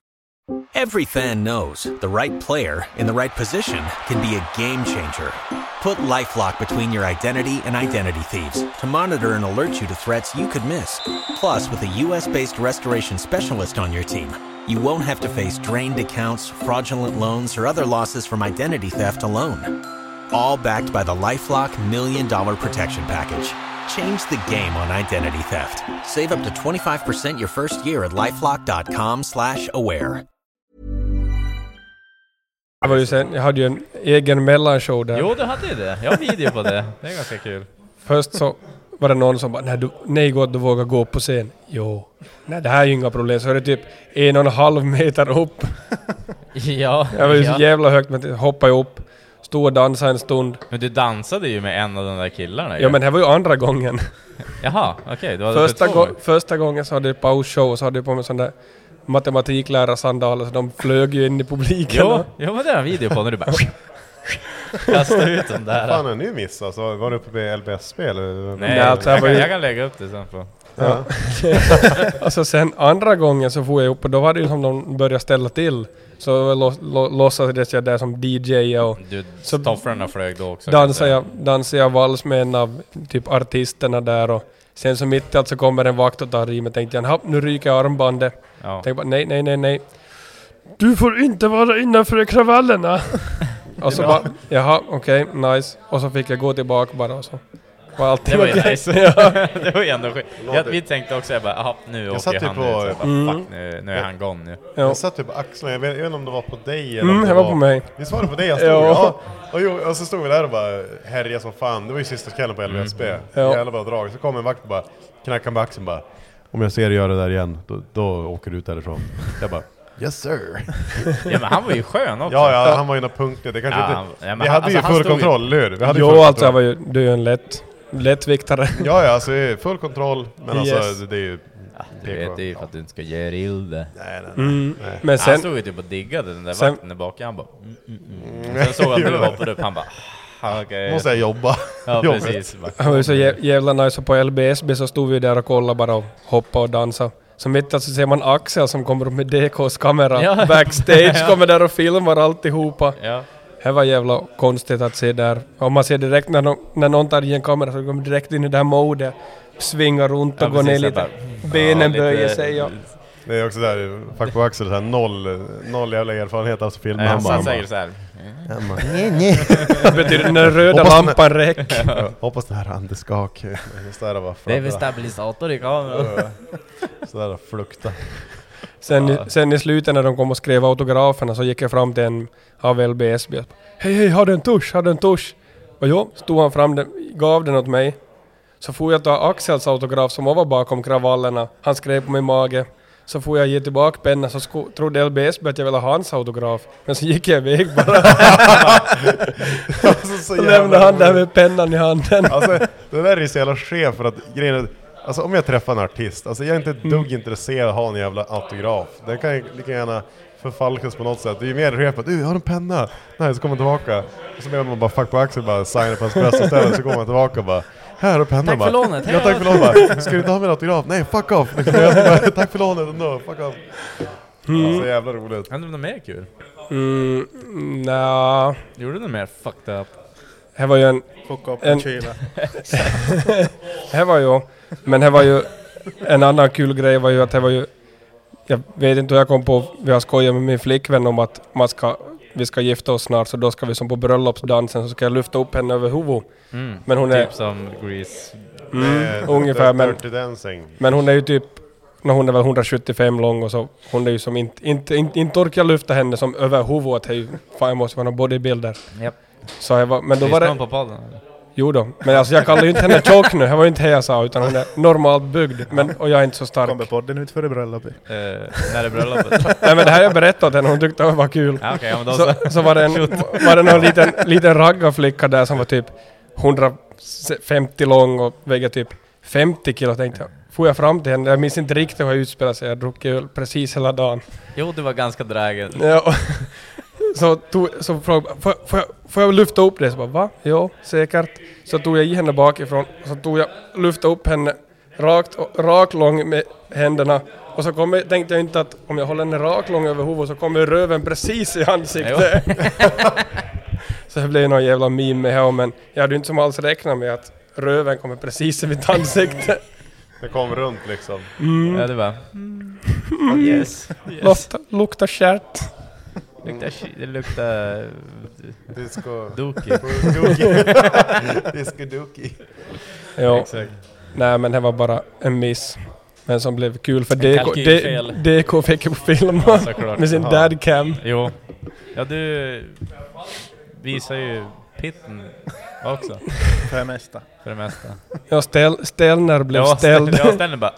Every fan knows the right player in the right position can be a game changer. Put LifeLock between your identity and identity thieves to monitor and alert you to threats you could miss. Plus, with a U.S.-based restoration specialist on your team, you won't have to face drained accounts, fraudulent loans, or other losses from identity theft alone. All backed by the LifeLock Million Dollar Protection Package. Change the game on identity theft. Save up to 25% your first year at LifeLock.com slash aware.
Jag, var ju sen, jag hade ju en egen mellanshow där.
Jo, du hade ju det. Jag har video på det. Det är ganska kul.
Först så var det någon som bara nej, du, nej gott du vågar gå upp på scen. Jo. Nej det här är ju inga problem. Så är det typ en och en halv meter upp.
Ja.
Jag var ju
ja.
så jävla högt men hoppade ju upp. Stod och dansade en stund.
Men du dansade ju med en av de där killarna ju.
Ja men det här var ju andra gången.
Jaha, okej. du hade
första,
två
gå-
gånger.
första gången så hade jag pausshow och så hade jag på mig sån där matematiklärarsandaler så de flög ju in i publiken.
Jo, jo, men det har jag en video på när du bara-
Kasta ut dem där.
Fan, en ny miss alltså. Var du uppe med LBS-spel? eller?
Nej,
alltså,
jag, kan, jag kan lägga upp det sen på...
Ja. alltså sen andra gången så får jag upp och då var det ju som de började ställa till. Så lo- lo- låtsades jag där som DJ och...
Du, tofflorna flög då också.
Dansade jag, dansade jag vals med en av typ artisterna där och... Sen så mitt i allt så kommer en vakt och tar i mig tänkte jag "Jaha, nu ryker armbandet.
Ja.
Tänkte bara nej, nej, nej, nej. Du får inte vara innanför kravallerna! och så
Ja.
bara, jaha, okej, nice. Och så fick jag gå tillbaka bara och så. Var allting
Det var ju
okej.
nice.
Ja.
det var ju ändå skit. Jag, vi tänkte också, jag bara, aha, nu
Jag
åker
satt ju
han
på...
ut. Så jag bara,
Mm.
fuck, nu, nu är han gone nu.
Jag satt ju på axlarna, jag vet, jag vet inte om det var på dig eller
Mm,
om det
det var på mig.
Visst var det på dig jag stod?
Ja.
ja. Och, jo, och så stod vi där och bara härjade som fan. Det var ju sista kvällen på LVSB.
Mm. Ja.
Jävla bra drag. Så kom en vakt och bara knackade med axeln bara. Om jag ser dig göra det där igen, då, då åker du ut därifrån. Jag bara Yes sir!
Ja, men han var ju skön också.
Ja, ja han var ju någon punktlig. Det kanske
Ja,
inte...
han- ja, men
vi
han-
hade
alltså,
ju
han
full
stod ju-
kontroll, eller hur? Vi hade ju
Jo,
full
alltså jag
kontroll.
var ju, du är ju en lätt, lättviktare.
Ja, ja, alltså full kontroll. Men
Yes.
alltså det, det är ju...
Du vet, det är ju för att du inte ska göra ill det.
Nej, nej,
nej. Mm, men sen-
han stod ju typ och diggade den där
sen-
vakten där bak. Han bara... Mm, mm, mm. Sen såg han du hoppade upp, han bara... "Ah, okej."
Måste jag jobba?
Ja,
Jobbet.
precis. Bara,
Han var ju så jä- jävla nice och på LBSB så stod vi där och kollade bara och hoppade och dansade. Så mitt i allt så ser man Axel som kommer upp med DKs kamera
Ja.
backstage,
Ja.
kommer där och filmar alltihopa.
Ja.
Det var jävla konstigt att se där. Om man ser direkt när, no- när någon tar i en kamera så går man direkt in i det här modet. Svingar runt och
Ja,
går ner
precis,
lite.
jag bara-
Benen
Ja, lite-
böjer sig. Ja.
Det är också där, fuck på Axel, så här, noll, noll jävla erfarenhet av film.
Nej, han
bara-
satt säkert såhär.
Han bara,
Nej, nej.
Det betyder den röda
Hoppas den-
lampan räcker.
Ja, Hoppas det här andeskak. Just det här bara
Det är väl
flukta.
stabilisator i kameran.
Ja, Så där flukta.
Sen, i, sen i slutet när de kom och skrev autograferna så gick jag fram till en av LBSB. och bara, Hej hej, har du en tusch? Har du en tusch? Och jo, stod han fram, den, gav den åt mig. Så får jag ta Axels autograf som var bakom kravallerna. Han skrev på min mage. Så får jag ge tillbaka pennan så sko- trodde LBSB att jag ville ha hans autograf. Men så gick jag iväg bara.
Alltså, så
så
jävla
lämnade han där
roligt.
med pennan i handen.
Alltså det där är ju så jävla skevt för att grejen är, alltså om jag träffar en artist, alltså jag är inte ett dugg
Mm.
intresserad av att ha en jävla autograf. Den kan ju lika gärna förfalkas på något sätt. Det är ju mer skevt att du, jag har en penna? Nej, så kommer man tillbaka. Och så menar man bara fuck på Axel, bara signar på hans bröst istället, så kommer man tillbaka och bara här har du pennan
Tack
bara.
för lånet, hej
Ja, tack
då."
för lånet bara. Ska du inte ha min autograf? Nej, fuck off! Liksom, jag ska bara, tack för lånet ändå, fuck off! Ja, så jävla roligt.
Hände det något mer kul?
Mm, nja...
Gjorde du något mer fucked up?
Här var ju en...
Fuck up
en
och kyla.
här var ju... Men här var ju... En annan kul grej var ju att det var ju... Jag vet inte hur jag kom på... Vi har skojat med min flickvän om att man ska, vi ska gifta oss snart så då ska vi som på bröllopsdansen så ska jag lyfta upp henne över huvudet.
Mm,
Men hon
typ
är...
som Grease.
Mm,
Eh,
ungefär men...
Dirty Dancing.
Men hon är ju typ... När hon är väl 175 lång och så... Hon är ju som inte... Inte, inte, inte orkar jag lyfta henne som över huvudet. Det är ju- Fan jag måste vara någon bodybuilder.
Japp.
Så jag var... Men då var det...
Lyssnar hon på podden?
Jo då, men alltså jag kallar ju inte henne tjock nu, det var ju inte det jag sa, utan hon är normalt byggd, men, och jag är inte så stark.
Kommer podden ut före bröllopet?
Eh, när är bröllopet?
Nej men det här jag berättat henne, hon tyckte det var kul.
Ja, okej, ja, men då
så,
så.
så var det, en,
Shoot.
var det någon liten, liten raggarflicka där som var typ 150 lång och väger typ 50 kilo, tänkte jag. Får jag fram till henne? Jag minns inte riktigt hur jag utspelade sig, jag druckit öl precis hela dagen.
Jo, du var ganska drägen.
Ja, och så, tog, så frågade jag, får, jag- får, jag, får jag lufta upp det? Så bara, va? Ja, säkert. Så tog jag i henne bakifrån, och så tog jag, luftade upp henne rakt, och- rak lång med händerna. Och så kom, jag- tänkte jag inte att om jag håller henne rak lång över huvudet så kommer röven precis i ansiktet. så det blev någon jävla meme med här men jag hade ju inte som alls räknat med att röven kommer precis i mitt ansikte.
Det kom runt liksom.
Mm.
Ja, det var.
Mm.
Yes, yes.
Lukta, lukta kärt.
Luktar, ki- det luktar... eh,
Disco...
Doki.
Doki. Disco-doki.
Ja.
Exakt.
Nej men det var bara en miss. Men som blev kul för
En
DK, D,
kalkylfel.
DK fick ju på film
Ja, såklart.
med sin
Jaha.
dadcam.
Jo. Ja, du visar ju pitten också.
För det mesta.
För det mesta.
Ja, stel, Stelner blev
Ja,
ställd.
Stel- ja, Stelner bara...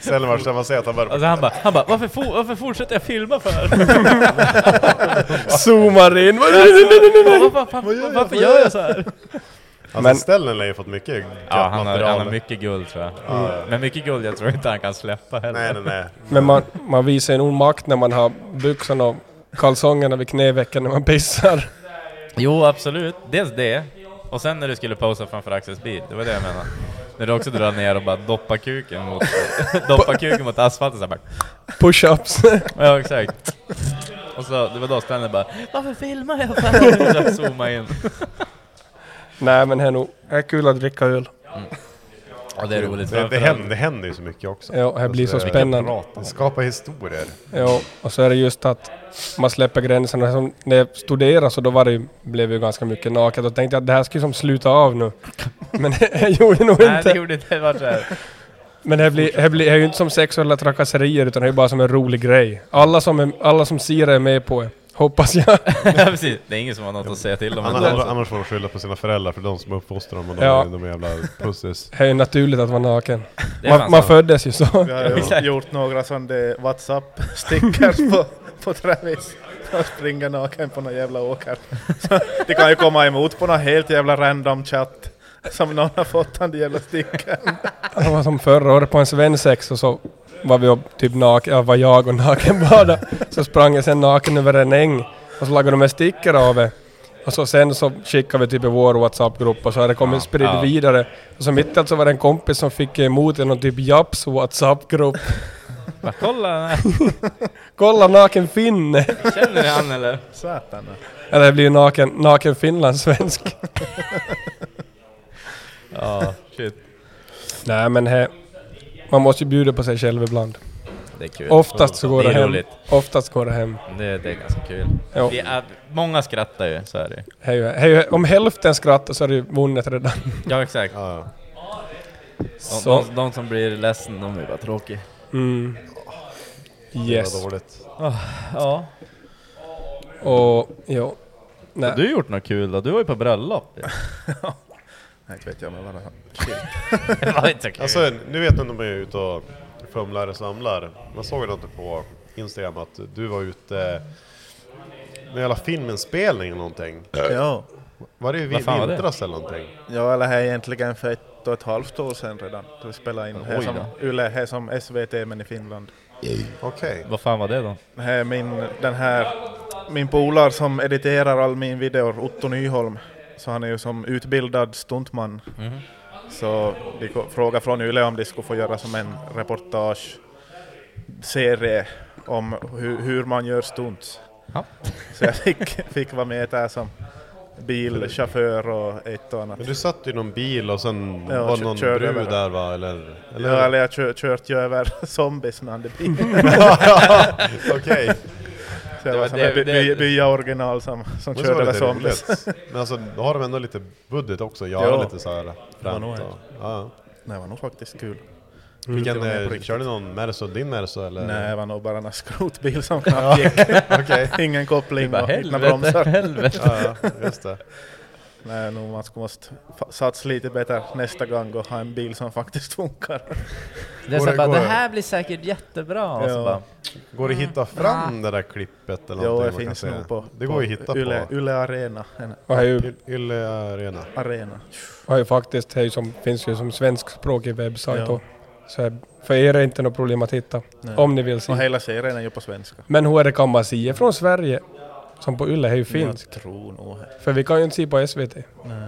Selmars, jag måste säga att han bara...
Alltså han bara, han bara varför, for, varför fortsätter jag filma för?
Zoomar in.
Varför, varför, varför gör jag så här?
Alltså men... Stellan har ju fått mycket gött
Ja, han har,
material.
han har mycket guld tror jag.
Ja, ja.
Men mycket guld jag tror inte han kan släppa heller.
Nej, nej, nej.
Men man, man visar ju nog makt när man har byxorna och kalsongerna vid knävecken när man pissar.
Jo, absolut. Dels det. Och sen när du skulle posa framför Axels bil, det var det jag menade. När du också drar ner och bara doppar kuken mot, doppar kuken mot asfalten såhär
Push-ups.
Ja, exakt. Och så, det var då Stanley bara Varför filmar jag
för?
för? Och zooma in.
Nej men det är nog det är kul att dricka öl.
Ja, det är roligt.
Det, det,
Framförallt-
händer, det händer ju så mycket också.
Ja, här blir så
Alltså, det-
spännande.
Vilket prat. Det skapar historier.
Ja, och så är det just att man släpper gränserna. Som när jag studerade så då var det, ju- blev det ju ganska mycket naket. Då tänkte jag att det här ska ju som sluta av nu. Men det gjorde det nog
Nej, det
inte.
gjorde inte. Det var så här.
Men det här blir, det här blir det är ju inte som sexuella trakasserier utan det är ju bara som en rolig grej. Alla som, är, alla som ser det är med på det. Hoppas jag.
Ja, precis. Det är ingen som har något att säga till om.
Annars, annars får de skylla på sina föräldrar för de som uppfostrar dem och de,
Ja.
är, de är jävla pussis.
Det är ju naturligt att vara naken.
Det är fan
Man, man
sant.
föddes ju så.
Jag har ju gjort några sådana WhatsApp-stickers på, på Travis. Han springer naken på någon jävla åker. Så det kan ju komma emot på någon helt jävla random chatt. Som någon har fått den där jävla stickern.
Det var som förra året på en svensex och så var vi upp typ naken, ja, var jag och nakenbada. Så sprang jag sen naken över en äng och så lagade de en sticker av det. Och så sen så skickade vi typ i vår WhatsApp-grupp och så hade det kommit
Ja,
spridit
ja.
vidare. Och så mitt i allt så var det en kompis som fick emot i någon typ Japs WhatsApp-grupp.
Bara, kolla den här.
Kolla naken finne!
Känner ni han eller?
Satan.
Eller det blir ju naken, naken finlandssvensk.
Ja, shit.
Nej men he, man måste ju bjuda på sig själv ibland.
Det är kul.
Oftast så går
Det
det,
är
hem.
roligt.
Oftast går det hem.
Det, det är ganska kul.
Ja.
Vi är, många skrattar ju, så är det ju.
Hej, hej, om hälften skrattar så är det ju vunnet redan.
Ja, exakt. De,
Så.
de, de som blir ledsen, de är bara tråkiga.
Mm. Yes.
Det var dåligt.
Ja.
Och ja. Nej.
Har du gjort något kul då? Du var ju på bröllop.
Nej, inte vet jag men bara...
Det var inte så kul.
Alltså, nu vet man att de är ute och fumlar och samlar. Man såg det inte på Instagram att du var ute med jävla filminspelning eller någonting.
Ja.
Var det i
Vad fan var det?
vintras eller någonting?
Ja, eller här är egentligen för ett och ett halvt år sedan redan. Då vi spelade in här
Oj
som, Yle, här som SVT men i Finland.
Okej.
Vad fan var det då?
Här är min, den här, min polare som editerar all min videor, Otto Nyholm. Så han är ju som utbildad stuntman.
Mhm.
Så de ko- frågade från Yle om de skulle få göra som en reportageserie om hu, hur man gör stunts. Så jag fick, fick vara med där som bilchaufför och ett och annat.
Men du satt i någon bil och sen
Ja,
var
kö-
det någon
körde
brud
över.
där va? Eller? eller?
Ja, eller jag kör, kört ju över zombies med Andy P.
Okej.
Så jag var som en by, by, byaoriginal som, som
Men så
körde
var det
över
lite
zombies.
roligt. Men alltså, då har de ändå lite budget också,
Ja.
göra lite så här
Det var
främt
nog
och-
helt-
ja.
Det var nog faktiskt kul. Kul att
Vilken,
vara med på
eh,
riktigt.
körde någon Merso, din Merso eller?
Nej, det var nog bara en skrotbil som knappt gick.
okej.
Ingen koppling
Du bara,
och inga
"Helvete,
bromsar.
helvete. Ja, ja, just det.
Nej, nog man ska måste fa- satsa lite bättre nästa gång och ha en bil som faktiskt funkar.
Det, är så här bara, det här blir säkert jättebra. Och så
Ja.
bara,
Går det att
"Ah."
hitta fram det där klippet eller
Jo,
någonting?
det
man kan
finns
se?
nog på-
Det
på
går ju att hitta på.
Yle- Yle Arena. En-
Jag har ju,
Yle Arena.
Arena.
har ju faktiskt, det är ju som, finns ju som svenskspråkig webbsajt
Ja.
och så här, för er är det inte något problem att hitta.
Nej.
Om ni vill se.
Och hela serien är ju på svenska.
Men hur är det kan man se från Sverige? Som på Yle är ju finsk.
Jag tror nog.
För vi kan ju inte se på SVT.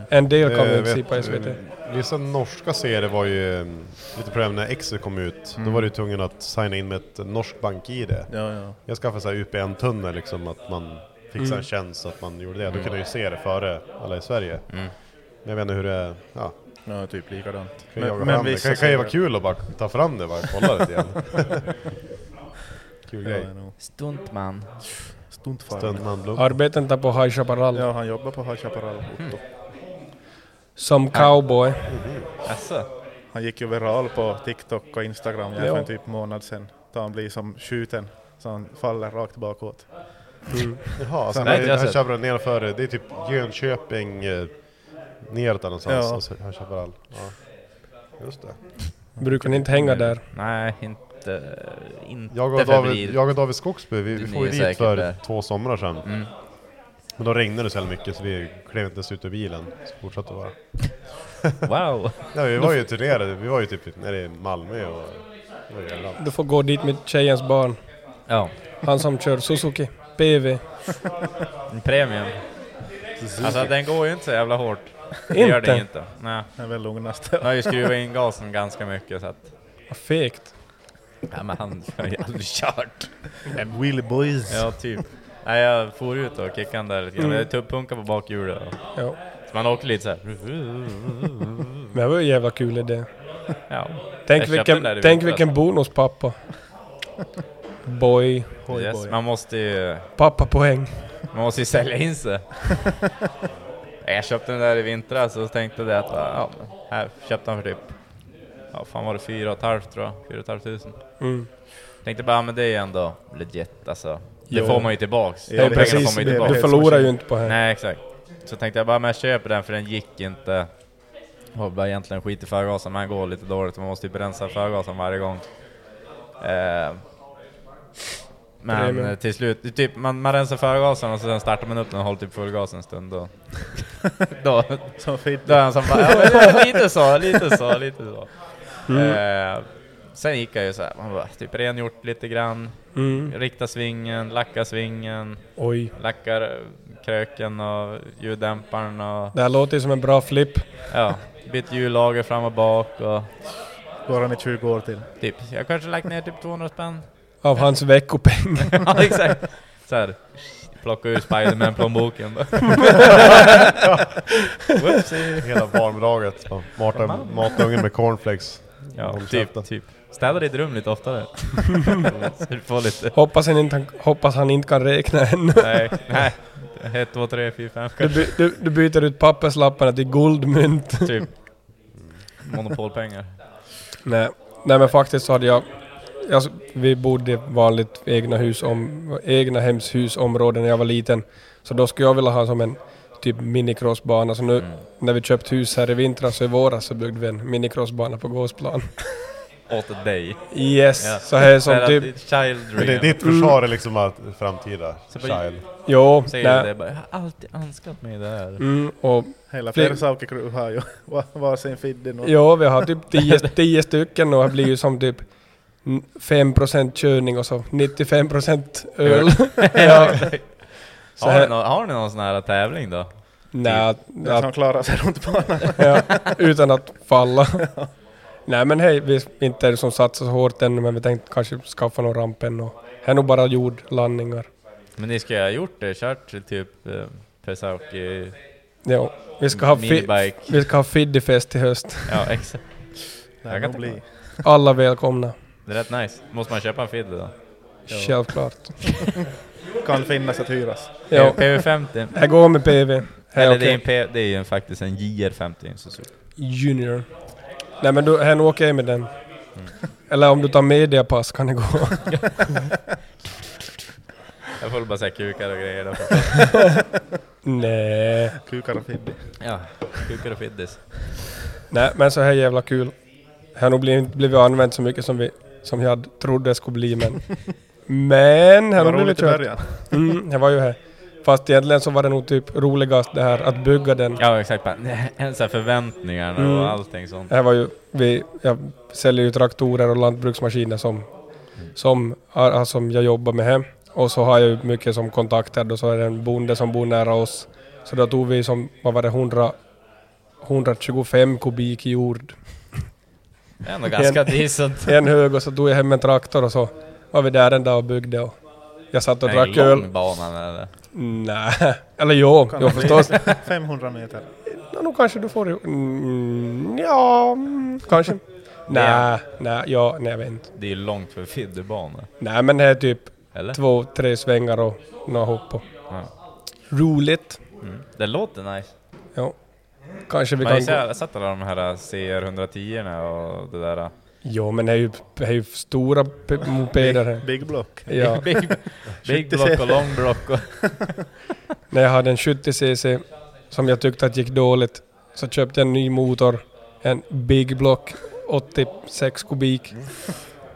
En del kan
Eh,
vi inte se
vet-
på SVT.
Vissa norska serier var ju eh, lite problem när Exit kom ut. Då
Mm.
var du tvungen att signa in med ett norskt bank-id.
Ja, ja.
Jag skaffade så här UPN-tunnel liksom, att man fixade
Mm.
en tjänst så att man gjorde det. Då
Mm.
kunde jag ju se det före alla i Sverige. Men jag vet inte hur det är. Ja.
Ja, typ likadant.
Kan men, men det
vissa
kan, kan ju
serier-
vara kul att bara ta fram det bara och kolla lite igen. kul
Ja,
grej.
det är nog.
Stuntman.
Stuntfarmen.
Stuntman Blom.
Arbeten där på High Chaparral.
Ja, han jobbar på High Chaparral.
Hmm.
Otto.
Som cowboy.
Han gick ju viral på TikTok och Instagram ja,
Ja.
för en typ månad sedan. Då han blir som skjuten, så han faller rakt bakåt.
Jaha, alltså
Så
Nej,
han-
han köper den nerför, det är typ Jönköping eh, neråt där någonstans.
Ja.
Och så han köper all. Ja. Just det.
Brukar ni inte hänga där?
Nej, inte, inte
Jag och,
febril.
David, jag och David Skogsby, vi, vi
Ni
får ju
är
dit
säkert
för
där.
två somrar sedan.
Mm.
Men då regnade det så jävla mycket så vi klev inte ens ut ur bilen. Så fortsatte det
bara. wow!
ja, vi var ju turnerade, vi var ju typ nere i Malmö och... det var ju jävla-
Du får gå dit med tjejens barn.
Ja.
Han som kör Suzuki. PV.
En premium.
Suzuki.
Alltså den går ju inte så jävla hårt. Det gör
Inte?
det ju inte. Nej.
Det är väl lugnast.
Jag har ju skruvat in gasen ganska mycket så att...
Vad fegt.
Ja, men han har ju aldrig kört.
Willy Boys.
Ja, typ. Nej, jag for ut och kickade han där lite grann.
Mm.
Jag tuppunkade på bakhjulet. och-
Ja.
Så man åker lite så här.
Men det var ju en jävla kul idé.
Ja. Jag
Tänk
köpte den där
vilken,
i
tänk
vintras.
vilken bonus pappa. Boy.
Yes, man måste ju...
Pappa poäng.
Man måste ju sälja in sig. jag köpte den där i vintras och tänkte det att ja, men här köpte han för typ, ja fan var det fyra och ett halvt tror jag, fyra och ett halvt tusen.
Mm.
Tänkte bara, men det är ju ändå legit alltså. Det
Jo.
får man ju tillbaks. De
Ja,
pengarna
precis.
får man
Det-
ju tillbaks.
du förlorar ju inte på det.
Nej exakt. Så tänkte jag bara, men jag köper den för den gick inte. Och bara egentligen skit i förgasen, men den går lite dåligt. Man måste ju rensa förgasen varje gång. Eh, men
Premium.
eh, till slut, typ, man, man rensar förgasen och sen startar man upp den och håller typ full gas en stund. Då, då,
Som fitta.
då är han som bara, ja, men, det är lite så, lite så, lite så. Eh, sen gick jag ju så här, man bara, typ rengjort lite grann,
Mm.
rikta svingen, lacka svingen,
Oj.
lackar eh, kröken och ljuddämparen och
Det här låter ju som en bra flipp.
ja, bytt hjullager fram och bak och
Går han i 20 år till?
typ, jag kanske lagt ner typ 200 spänn.
Av hans veckopeng.
ja, exakt. Så här, plocka ur Spiderman-plånboken då. Whoopsie.
Hela barnbidraget. bara Mata, mata ungen med cornflakes.
Ja,
Håll käften.
typ, typ. Städa ditt rum lite oftare. Så du får lite...
Hoppas han inte, hoppas han inte kan räkna än.
Nej, nej. 1, 2, 3, 4, 5
Du, by, du, du byter ut papperslapparna till guldmynt.
Typ. Monopolpengar.
Nej. Nej men faktiskt så hade jag... jag vi bodde i vanligt egna hus om, egna hemshusområden när jag var liten. Så då skulle jag vilja ha som en typ minicrossbana. Så
Mm.
nu när vi köpt hus här i vintras och i våras så byggde vi en minicrossbana på gåsplan.
Åt dig.
Yes, så här är som
Städa
typ-
ditt Child
Men det,
dream.
ditt försvar är liksom att framtida
bara-
child.
Jo,
Säger du det bara, jag har alltid önskat mig det här.
Mm, och
Hela
fler-
Persauke Crew har ju var- varsin fidden. och-
Ja, vi har typ 10 tio stycken och det blir ju som typ n- 5% körning och så 95% öl.
ja.
ja. Så
har, ni
här,
någon, har ni någon sån här tävling då?
nej,
typ? Det är som klarar sig runt banan.
ja, utan att falla. Nej men hej, vi inte är det som satsar så hårt ännu men vi tänkte kanske skaffa någon ramp än och här är nog bara jordlandningar.
Men ni ska ju ha gjort det, kört typ eh, Pesauki...
Ja, vi ska ha, fi-
Minibike.
vi ska ha fiddifest i höst.
Ja, exakt. Jag kan
nog
tänka mig.
Alla välkomna.
Det är rätt nice. Måste man köpa en fiddle då?
Självklart.
kan finnas att hyras.
Ja.
PV50.
Jag går med PV. Här är
Eller det, är
okej.
en P- det är ju en- faktiskt en JR50 en Suzuki.
Junior. Nej men du, hen åker med den.
Mm.
Eller om du tar mediapass kan det gå.
Jag får väl bara säga kukar och grejer då.
Nej.
Kukar och fiddy.
Ja, kukar och fiddis.
Nej, men så här jävla kul. Det har nog blivit, blivit använt så mycket som, vi, som jag trodde det skulle bli men... Men...
Det var
har nog blivit
roligt i
kört.
början.
Mm, jag var ju här. Fast egentligen så var det nog typ roligast det här att bygga den.
Ja, exakt. Bara, nej, Så här förväntningarna
Mm.
och allting sånt.
Det här var ju, vi, jag säljer ju traktorer och lantbruksmaskiner som, som, ah, som jag jobbar med hem. Och så har jag ju mycket som kontakter och så är det en bonde som bor nära oss. Så då tog vi som, vad var det, 100, 125 kubik jord.
Det är ändå ganska
en,
decent.
En hög och så tog jag hem en traktor och så var vi där en dag och byggde och jag satt och
En
drack
lång
öl.
bana, eller?
Nej, eller jo,
Kan
jo
det bli
förstås.
500 meter.
Ja, nog kanske du får... Mm, ja, mm, kanske. Nej, nej, ja, nej jag vet inte.
Det är ju långt för fidderbana.
Nej men det är typ
Eller?
två, tre svängar och några hopp och... Roligt.
Mm. Det låter nice.
Ja. Kanske vi
Man har
kan...
ju
Gå...
sett- sett alla de här äh, CR110 erna och det där. äh.
Jo men det är ju, det är ju stora p- mopeder här.
Big- big block.
Ja.
Big- big block och long block och-
När jag hade en 70cc som jag tyckte att gick dåligt så köpte jag en ny motor. En Big Block 86 kubik.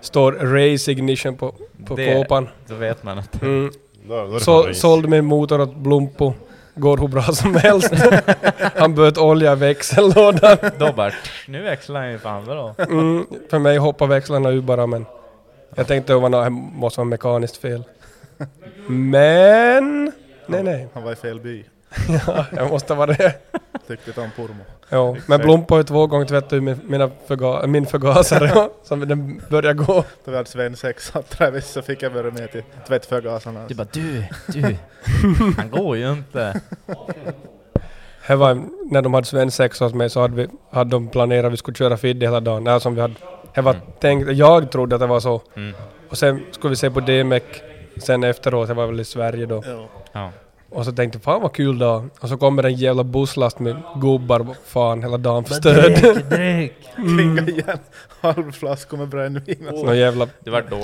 Står Race Ignition på, på
Det-
kåpan.
då vet man att-
Mm.
Då- då är det fan
Så,
race.
sålde min motor åt Blompo. Går hur bra som helst. Han böt olja i växellådan.
Då bara, nu växlar han ju fan bra.
Mm, för mig hoppar växlarna ur bara men... Jag tänkte att det måste vara mekaniskt fel. Men... Nej nej.
Han var i fel by.
Ja, jag måste vara det.
Tyckte inte om Pormo.
Ja, men
Exakt.
Blompa har ju två gånger tvättat ur min- mina förga, min förgasare som den börjar gå.
Då vi hade svensexa Travis så fick jag börja med till tvättförgasarna. Du
bara du, du, han går ju inte.
Här var, en- när de hade svensexa hos mig så hade, vi, hade de planerat att vi skulle köra fiddy hela dagen. Det här som vi hade, jag, var tänkt, jag trodde att det var så.
Mm.
Och sen skulle vi se på DMEC sen efteråt, jag var väl i Sverige då.
Ja.
Och så tänkte jag fan vad kul då. Och så kommer det en jävla busslast med gubbar vad fan hela dagen förstörd. Mm.
Klinga igen. Halvflaskor med brännvin. alltså. och så.
Någon jävla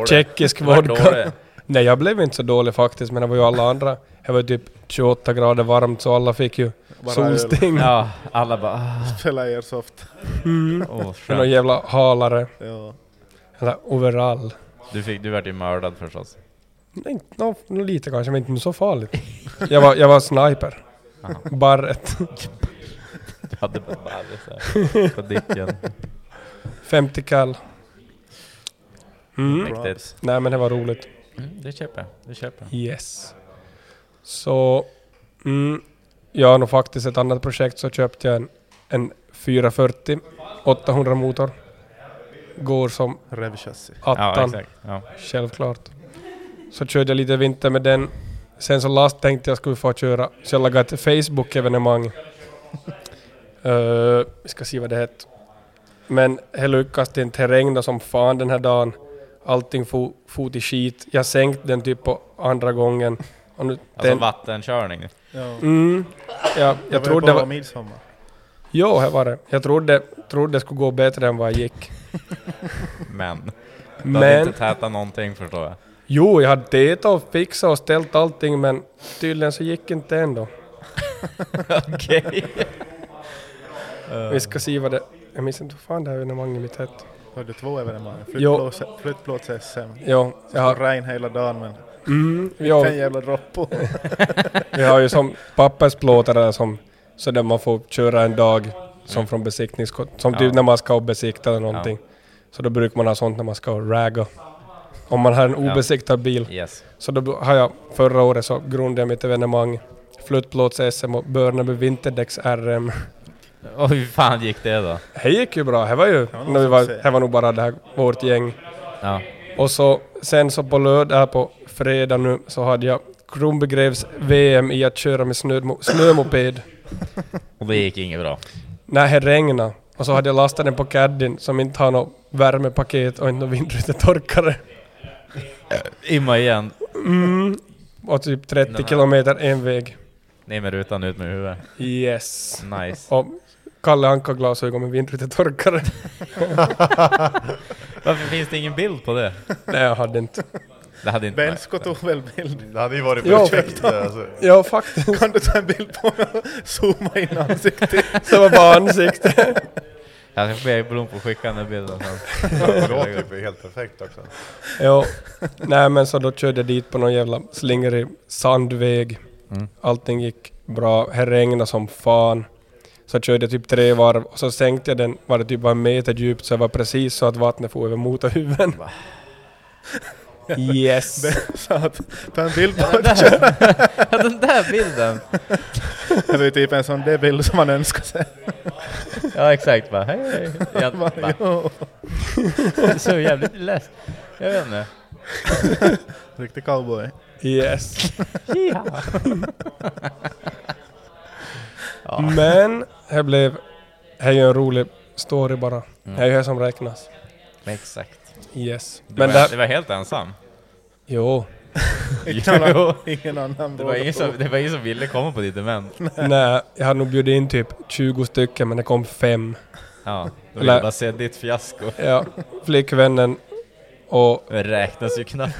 tjeckisk vodka. Nej, jag blev inte så dålig faktiskt, men det var ju alla andra. Det var ju typ 28 grader varmt så alla fick ju
Bara
solsting.
öl.
Ja, alla bara... ah.
Spela airsoft.
Mm.
Åh,
Med
skönt.
någon jävla halare.
Ja.
Eller overall.
Du, fick, du vart ju mördad förstås.
Nej, inte- nå, nå lite kanske, men inte så farligt. jag, var, jag var sniper. Barret.
Du hade bara barret så här på dicken.
50 kall. Mm.
Mäktigt.
Nej men det var roligt.
Mm, det köper jag. Det köper jag.
Yes. Så... Mm, jag har nog faktiskt ett annat projekt så köpte jag en, en 440 800 motor. Går som
Revchassi.
attan.
Ja, exakt. Ja. Alltså,
Självklart. Så körde jag lite vinter med den. Sen så last tänkte jag skulle få köra, så jag lagade ett Facebook-evenemang. Eh, vi ska se vad det hette. Men det lyckades det inte. Det regnade som fan den här dagen. Allting for, for till skit. Jag sänkte den typ på andra gången. Och nu,
Alltså
den-
vattenkörning.
Mm. Ja, jag
var ju
trodde det
på
var...
midsommar.
Jo, här var det. Jag trodde, trodde det skulle gå bättre än vad jag gick.
Men. Du hade
Men-
inte tätat någonting förstår jag.
Jo, jag hade det och fixat och ställt allting men tydligen så gick inte ändå.
Okej.
Vi ska se vad det... Jag minns inte vad fan det här evenemanget mitt hette.
Var det två evenemang?
Jo.
Flyttplåts- Flyttplåts-SM.
Ja,
Så
jag har-
har... regn hela dagen men...
Mm, ja.
Fem jävla droppor.
Vi har ju som pappersplåtare som... Så där man får köra en dag som från besiktnings... Som
Ja.
typ när man ska och besikta eller någonting. Så då brukar man ha sånt när man ska och ragga. Om man har en
Ja.
obesiktad bil.
Yes.
Så då har jag... Förra året så grundade jag mitt evenemang Flyttplåts-SM och Börneby Vinterdäcks-RM.
Och hur fan gick det då?
Det gick ju bra. Det var ju...
någon
när vi
som
var,
säger.
det var nog bara det här, vårt gäng.
Ja.
Och så sen så på lördag, här på fredag nu, så hade jag Kronbegrevs VM i att köra med snödmo- snömoped.
Och det gick inget bra.
När det regnade. Och så hade jag lastat den på caddien som inte har något värmepaket och inte någon vindrutetorkare.
Imma igen.
Mm. Och typ 30
Den här-
kilometer en väg.
Ner med rutan, ut med huvudet.
Yes.
Nice.
Och Kalle Anka-glasögon med vindrutetorkare.
Varför finns det ingen bild på det?
Nej, jag hade inte.
Det hade inte
Bensko tog väl bild?
Det hade ju varit
Ja,
perfekt.
fakt-
alltså.
ja, faktiskt.
Kan du ta en bild på mig och zooma in ansiktet?
Det var bara ansikte.
Jag ska få Erik Blom på att skicka den där bilden sen.
Det låter ju helt perfekt också.
Ja, nej men så då körde jag dit på någon jävla slingrig sandväg.
Mm.
Allting gick bra. Här regnade som fan. Så jag körde typ tre varv och så sänkte jag den, var det typ bara en meter djupt, så jag var precis så att vattnet for över motorhuven. Yes!
Ben sa att ta en bild på
Den där- den där bilden.
Det var ju typ en sån där bild som man önskar sig.
Ja exakt bara, hej hej. Jag
Bara,
bara,
jo.
det ser jävligt läst. Jag vet inte.
Riktig cowboy.
Yes.
Jiha.
Ja.
Men, här blev... Här är ju en rolig story bara.
Mm.
Det är ju det som räknas.
Exakt.
Yes.
Du
Men
var,
där-
du var helt ensam.
Jo.
Ingen annan- ingen annan
det, var
vågade
ingen som,
på.
det var ingen som ville komma på ditt event.
Nej, jag hade nog bjudit in typ 20 stycken men det kom fem.
Ja, de ville
Eller-
bara se ditt fiasko.
Ja, flickvännen och...
Det räknas ju knappt.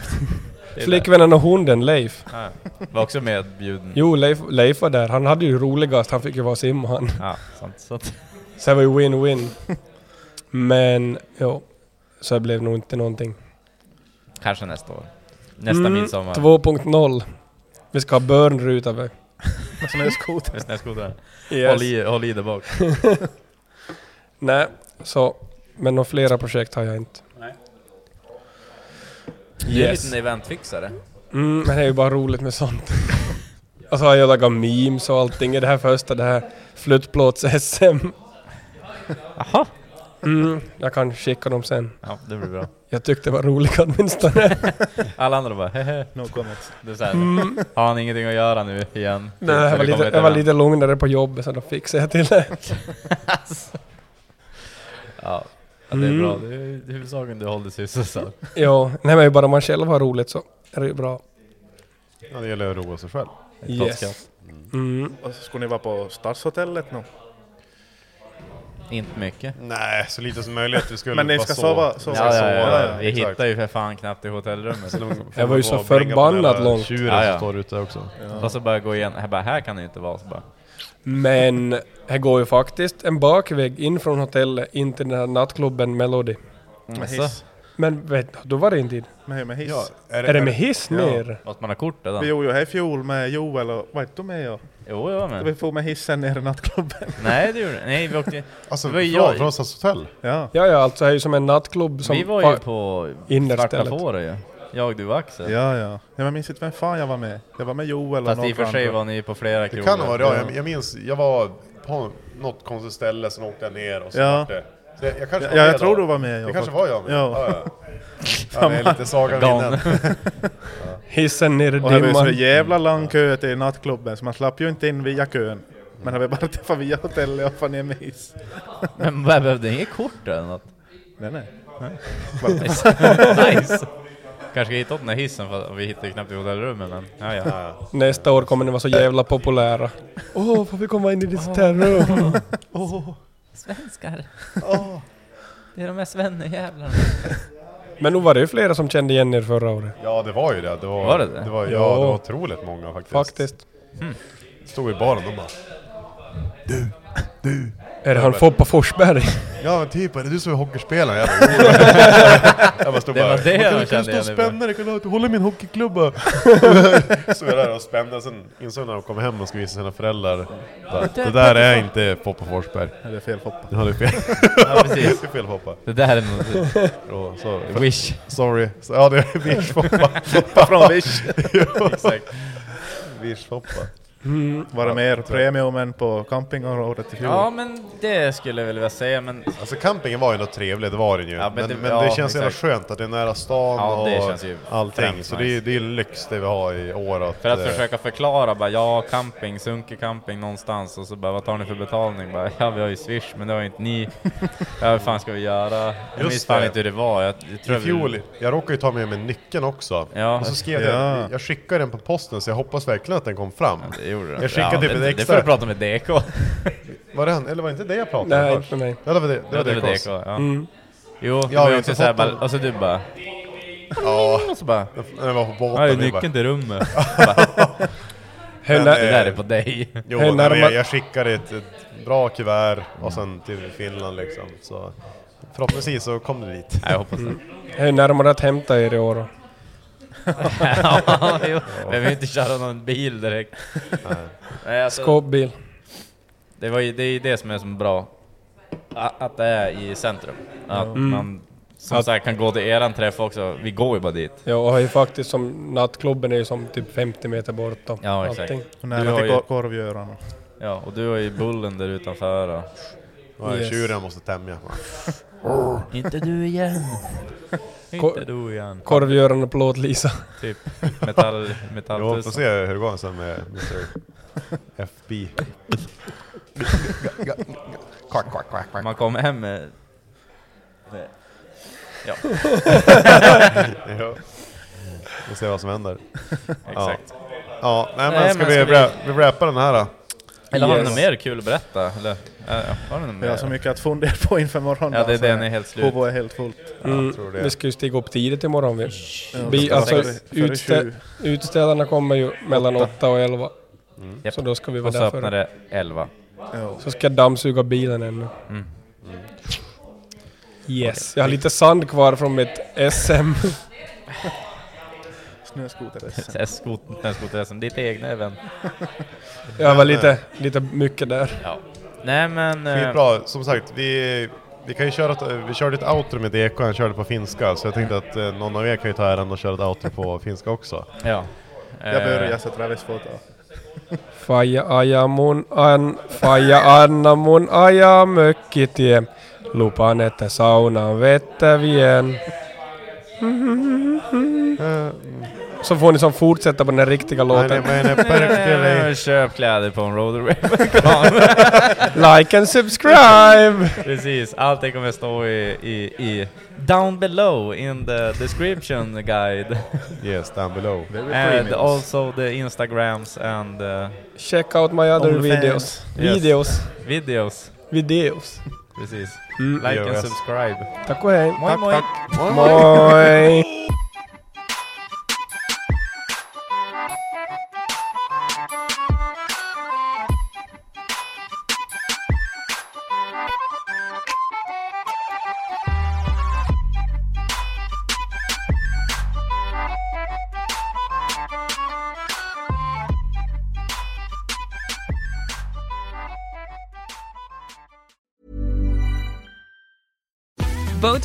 Det är
Flickvännen och hunden, Leif.
där. Ja, var också medbjuden.
Jo, Leif, Leif var där. Han hade ju roligast. Han fick ju vara simma han.
Ja, sant, sant.
Så det var ju win-win. Men, ja. Så det blev nog inte någonting.
Kanske nästa år. Nästa
Mm,
midsommar.
2.0. Vi ska ha börnruta. va?
Snöskoter.
Snöskoter.
Yes.
Håll, i, håll i där bak.
Nej, så. Men några flera projekt har jag inte.
Du är en
Yes.
liten eventfixare.
Mm, men det är ju bara roligt med sånt. Och så har jag lagat memes och allting i det här första, det här fluttplåts-SM.
Jaha.
Mm, jag kan skicka dem sen.
Ja, det blir bra.
Jag tyckte det var roligt åtminstone.
Alla andra bara hehe.
No comments.
Det är så här,
Mm.
Har han ingenting att göra nu igen?
Nej, Typ,
Det
jag var,
kommer
lite,
ett
jag var
event.
lite lugnare på jobbet så då fixade jag till det.
Ja, ja det är
Mm.
bra. Det är huvudsaken du håller sysselsatt.
ja, nej men bara om man själv har roligt så är det ju bra.
Ja, det gäller att roa sig själv.
Yes. Mm.
Och så skulle ni vara på Stadshotellet nu?
Inte mycket.
Nej, så lite som möjligt. Vi skulle
Men ni
bara
ska
sova.
sova- sova.
Ja, ja, ja,
Ja, ja,
Vi
exakt.
hittar ju för fan knappt i hotellrummet.
Så de får
Jag var ju
bara
så
bänga på den
förbannat
där
långt.
Tjuren
Ja,
som
ja.
står ute också.
Och så bara gå igen. Jag bara, här kan det ju inte vara. Så bara,
Men här går ju faktiskt en bakväg in från hotellet in till den här nattklubben Melody.
Med
Jaså?
Mm, hiss.
Men vet du, då var det inte dit.
Med, med hiss.
Ja,
Är det, med hiss ner?
måste man ha kort redan?
Vi
Jo,
gjorde ju här i fjol med Joel och... Var inte du med? Och,
jag var
Vi
med.
får med hissen ner i nattklubben.
Nej, det gjorde Nej, vi åkte...
Alltså,
det var ju
från,
jag.
från Stads hotell?
Ja.
Ja, ja, alltså det är ju som en nattklubb som...
vi var ju på Svarta
innerstället.
Fårö ju. Jag, du och Axel.
Ja, ja. Jag minns inte vem fan jag var med. Jag var med Joel och
Fast i och för sig
andra.
var ni på flera
Det
krogar.
kan ha varit jag. Jag- Jag minns, jag var på något konstigt ställe, sen åkte jag ner och så
Ja.
vart det... Så jag, jag kanske
Ja, jag
med
tror
då.
du var med,
Det
jag
kanske
fakt-
var jag med.
Ja.
Ja, ja. ja det är lite saga
Gone.
minnen.
Hissen ner i
Och det var ju så
dimman.
jävla lång kö till nattklubben så man slapp ju inte in via kön. Men hade vi bara träffat via hotellet och fan ner med hiss.
Men jag behövde inget kort eller något.
Nej, nej.
nice. nice. Kanske ska hitta åt den här hissen för vi hittar ju knappt i hotellrummet men... Ja, ja.
Nästa år kommer ni vara så
Eh.
jävla populära. Åh, får vi komma in i ditt terrum?
Svenskar. Det är de här svennejävlarna.
Men nog var det ju flera som kände igen er förra året.
Ja, det var ju det. Det var,
Var det Hm. det?
det var, ja.
Ja.
det var otroligt många faktiskt.
Faktiskt.
Stod i baren och bara...
Är det han Foppa Forsberg?
Ja men typ, är det du som är hockeyspelare? Jag bara, "Jo." jag bara stod
Det
bara...
var det jag
"Kan du-
kände
Kan du
igen
stå och
dig
spänna dig? Kan du- du håller min hockeyklubba? Stod jag där och spände, sen insåg när de kom hem och skulle visa sina föräldrar bara, Det där är inte Foppa Forsberg.
Nej, Det är fel Foppa.
Du hade fel.
Ja, precis.
Det är fel Foppa.
Det där är något...
Och så,
Wish.
Sorry. Så, ja det är Wish Foppa.
Foppa från Wish.
Jo, Wish Foppa.
Var det mer premiumen på campingområdet i fjol?
Ja men det skulle jag väl vilja säga men...
Alltså campingen var ju något trevligt, det var den ju.
Ja, men
men,
det-
men
ja,
det känns så jävla
exakt.
skönt att det är nära stan
Ja, det
och
känns ju
allting.
främst
Så
nice.
det är, ju- det är ju lyx det vi har i år. Att,
För att
eh,
försöka förklara bara, ja camping, sunkig camping någonstans och så bara, vad tar ni för betalning? Bara, ja vi har ju swish men det har ju inte ni. Ja vad fan ska vi göra? Jag
Just
minns fan
det.
inte hur det var. Jag, jag tror
I fjol, jag råkade ju ta med mig nyckeln också.
Ja.
Och så skrev
Ja.
jag, jag skickade den på posten så jag hoppas verkligen att den kom fram.
Vi, det gjorde det.
Jag skickade
ja,
typ
det,
ett
det får
extra...
du prata med DK.
var det han, eller var det inte det jag pratade
Nej,
om
inte
först?
för mig.
Ja, det var det, det,
Ja,
var
det var
det,
DK. Ja.
Mm.
Jo, det
jag
var
har
ju
inte
också såhär
fått
bara,
någon-
och så du bara...
Ja.
Och så bara...
Den var på båten.
Ja, det är
och jag
nyckeln
bara-
till rummet. Bara-
Men,
Det
eh,
där är på dig.
Jo,
Hur
nej, men
närmar-
jag, jag skickade ett, ett bra kuvert och sen till Finland liksom. Så förhoppningsvis så kom du dit.
Nej, jag hoppas det.
Jag är närmare att hämta er i år då.
ja, jo. Men vi vill inte köra någon bil direkt. Nej, alltså,
Skåpbil.
Det, var ju, det är ju det som är så bra. A- Att det är i centrum. Att
Mm.
man som
Att-
sagt kan gå till eran träff också. Vi går ju bara dit.
Ja, och har ju faktiskt som nattklubben är ju som typ 50 meter bort då.
Ja, exakt.
Allting.
Du
Nära
har
till
ju-
kor- korvgöran.
Ja, och du har ju bullen där utanför. Och...
Ja, Yes. tjuren måste tämja.
inte du igen.
Kor-
inte du igen.
Korvgöran och plåt-Lisa.
Typ metall, metall
Jo, får se hur det går sen med Mr. FB. Quack, quack, quack, quack.
Man kommer hem med... med- Ja.
ja. Vi får se vad som händer.
Exakt.
Ja, ja nej, men
Nej,
ska
men
vi,
ska vi-
ra- vi rappa den här då?
Eller har du
Yes.
något mer kul att berätta? Eller, äh, har du något
Jag har
mer?
så mycket att fundera på inför morgonen.
Ja, det är
alltså.
den är helt slut.
Huvudet är helt fullt.
Mm, vi ska ju stiga upp tidigt imorgon. Vi. Vi,
före-
alltså,
före
utstä-
sju.
utställarna kommer ju mellan
Åtta.
8 och 11.
Mm. Japp.
Så då ska vi vara
Och så
där
öppnar
före.
det 11.
Så ska jag dammsuga bilen ännu. Yes, jag har lite sand kvar från mitt SM.
Snöskoter.
Snöskoter-SM, ditt egna event.
Jag var lite, lite mycket där.
Ja. Nej men... eh,
Skitbra, som sagt vi, vi kan ju köra ett, vi körde ett outro med DK, han körde på finska så jag tänkte att eh, någon av er kan ju ta äran och köra ett outro på finska också.
Ja.
Jag börjar så Travis får ta.
Faija aja mun an, faija anna mun ajaa mökkitie. Lupaan, että saunaan vettä vien.
Eh.
Så får ni som fortsätta på den här riktiga låten.
Eh, Köp kläder på en roadway
Like and subscribe!
Precis, allting kommer stå i, i, i down below in the description guide.
Yes, down below.
Very
and
premiums.
also Uh, the Instagrams and... Uh,
Check out my other
OnlyFans.
videos.
Yes.
Videos.
Videos.
Videos.
Precis.
Mm.
Like and
Yes.
subscribe.
Tack och hej.
Moi,
tack,
moi.
Tack.
Moi, moi.
moi.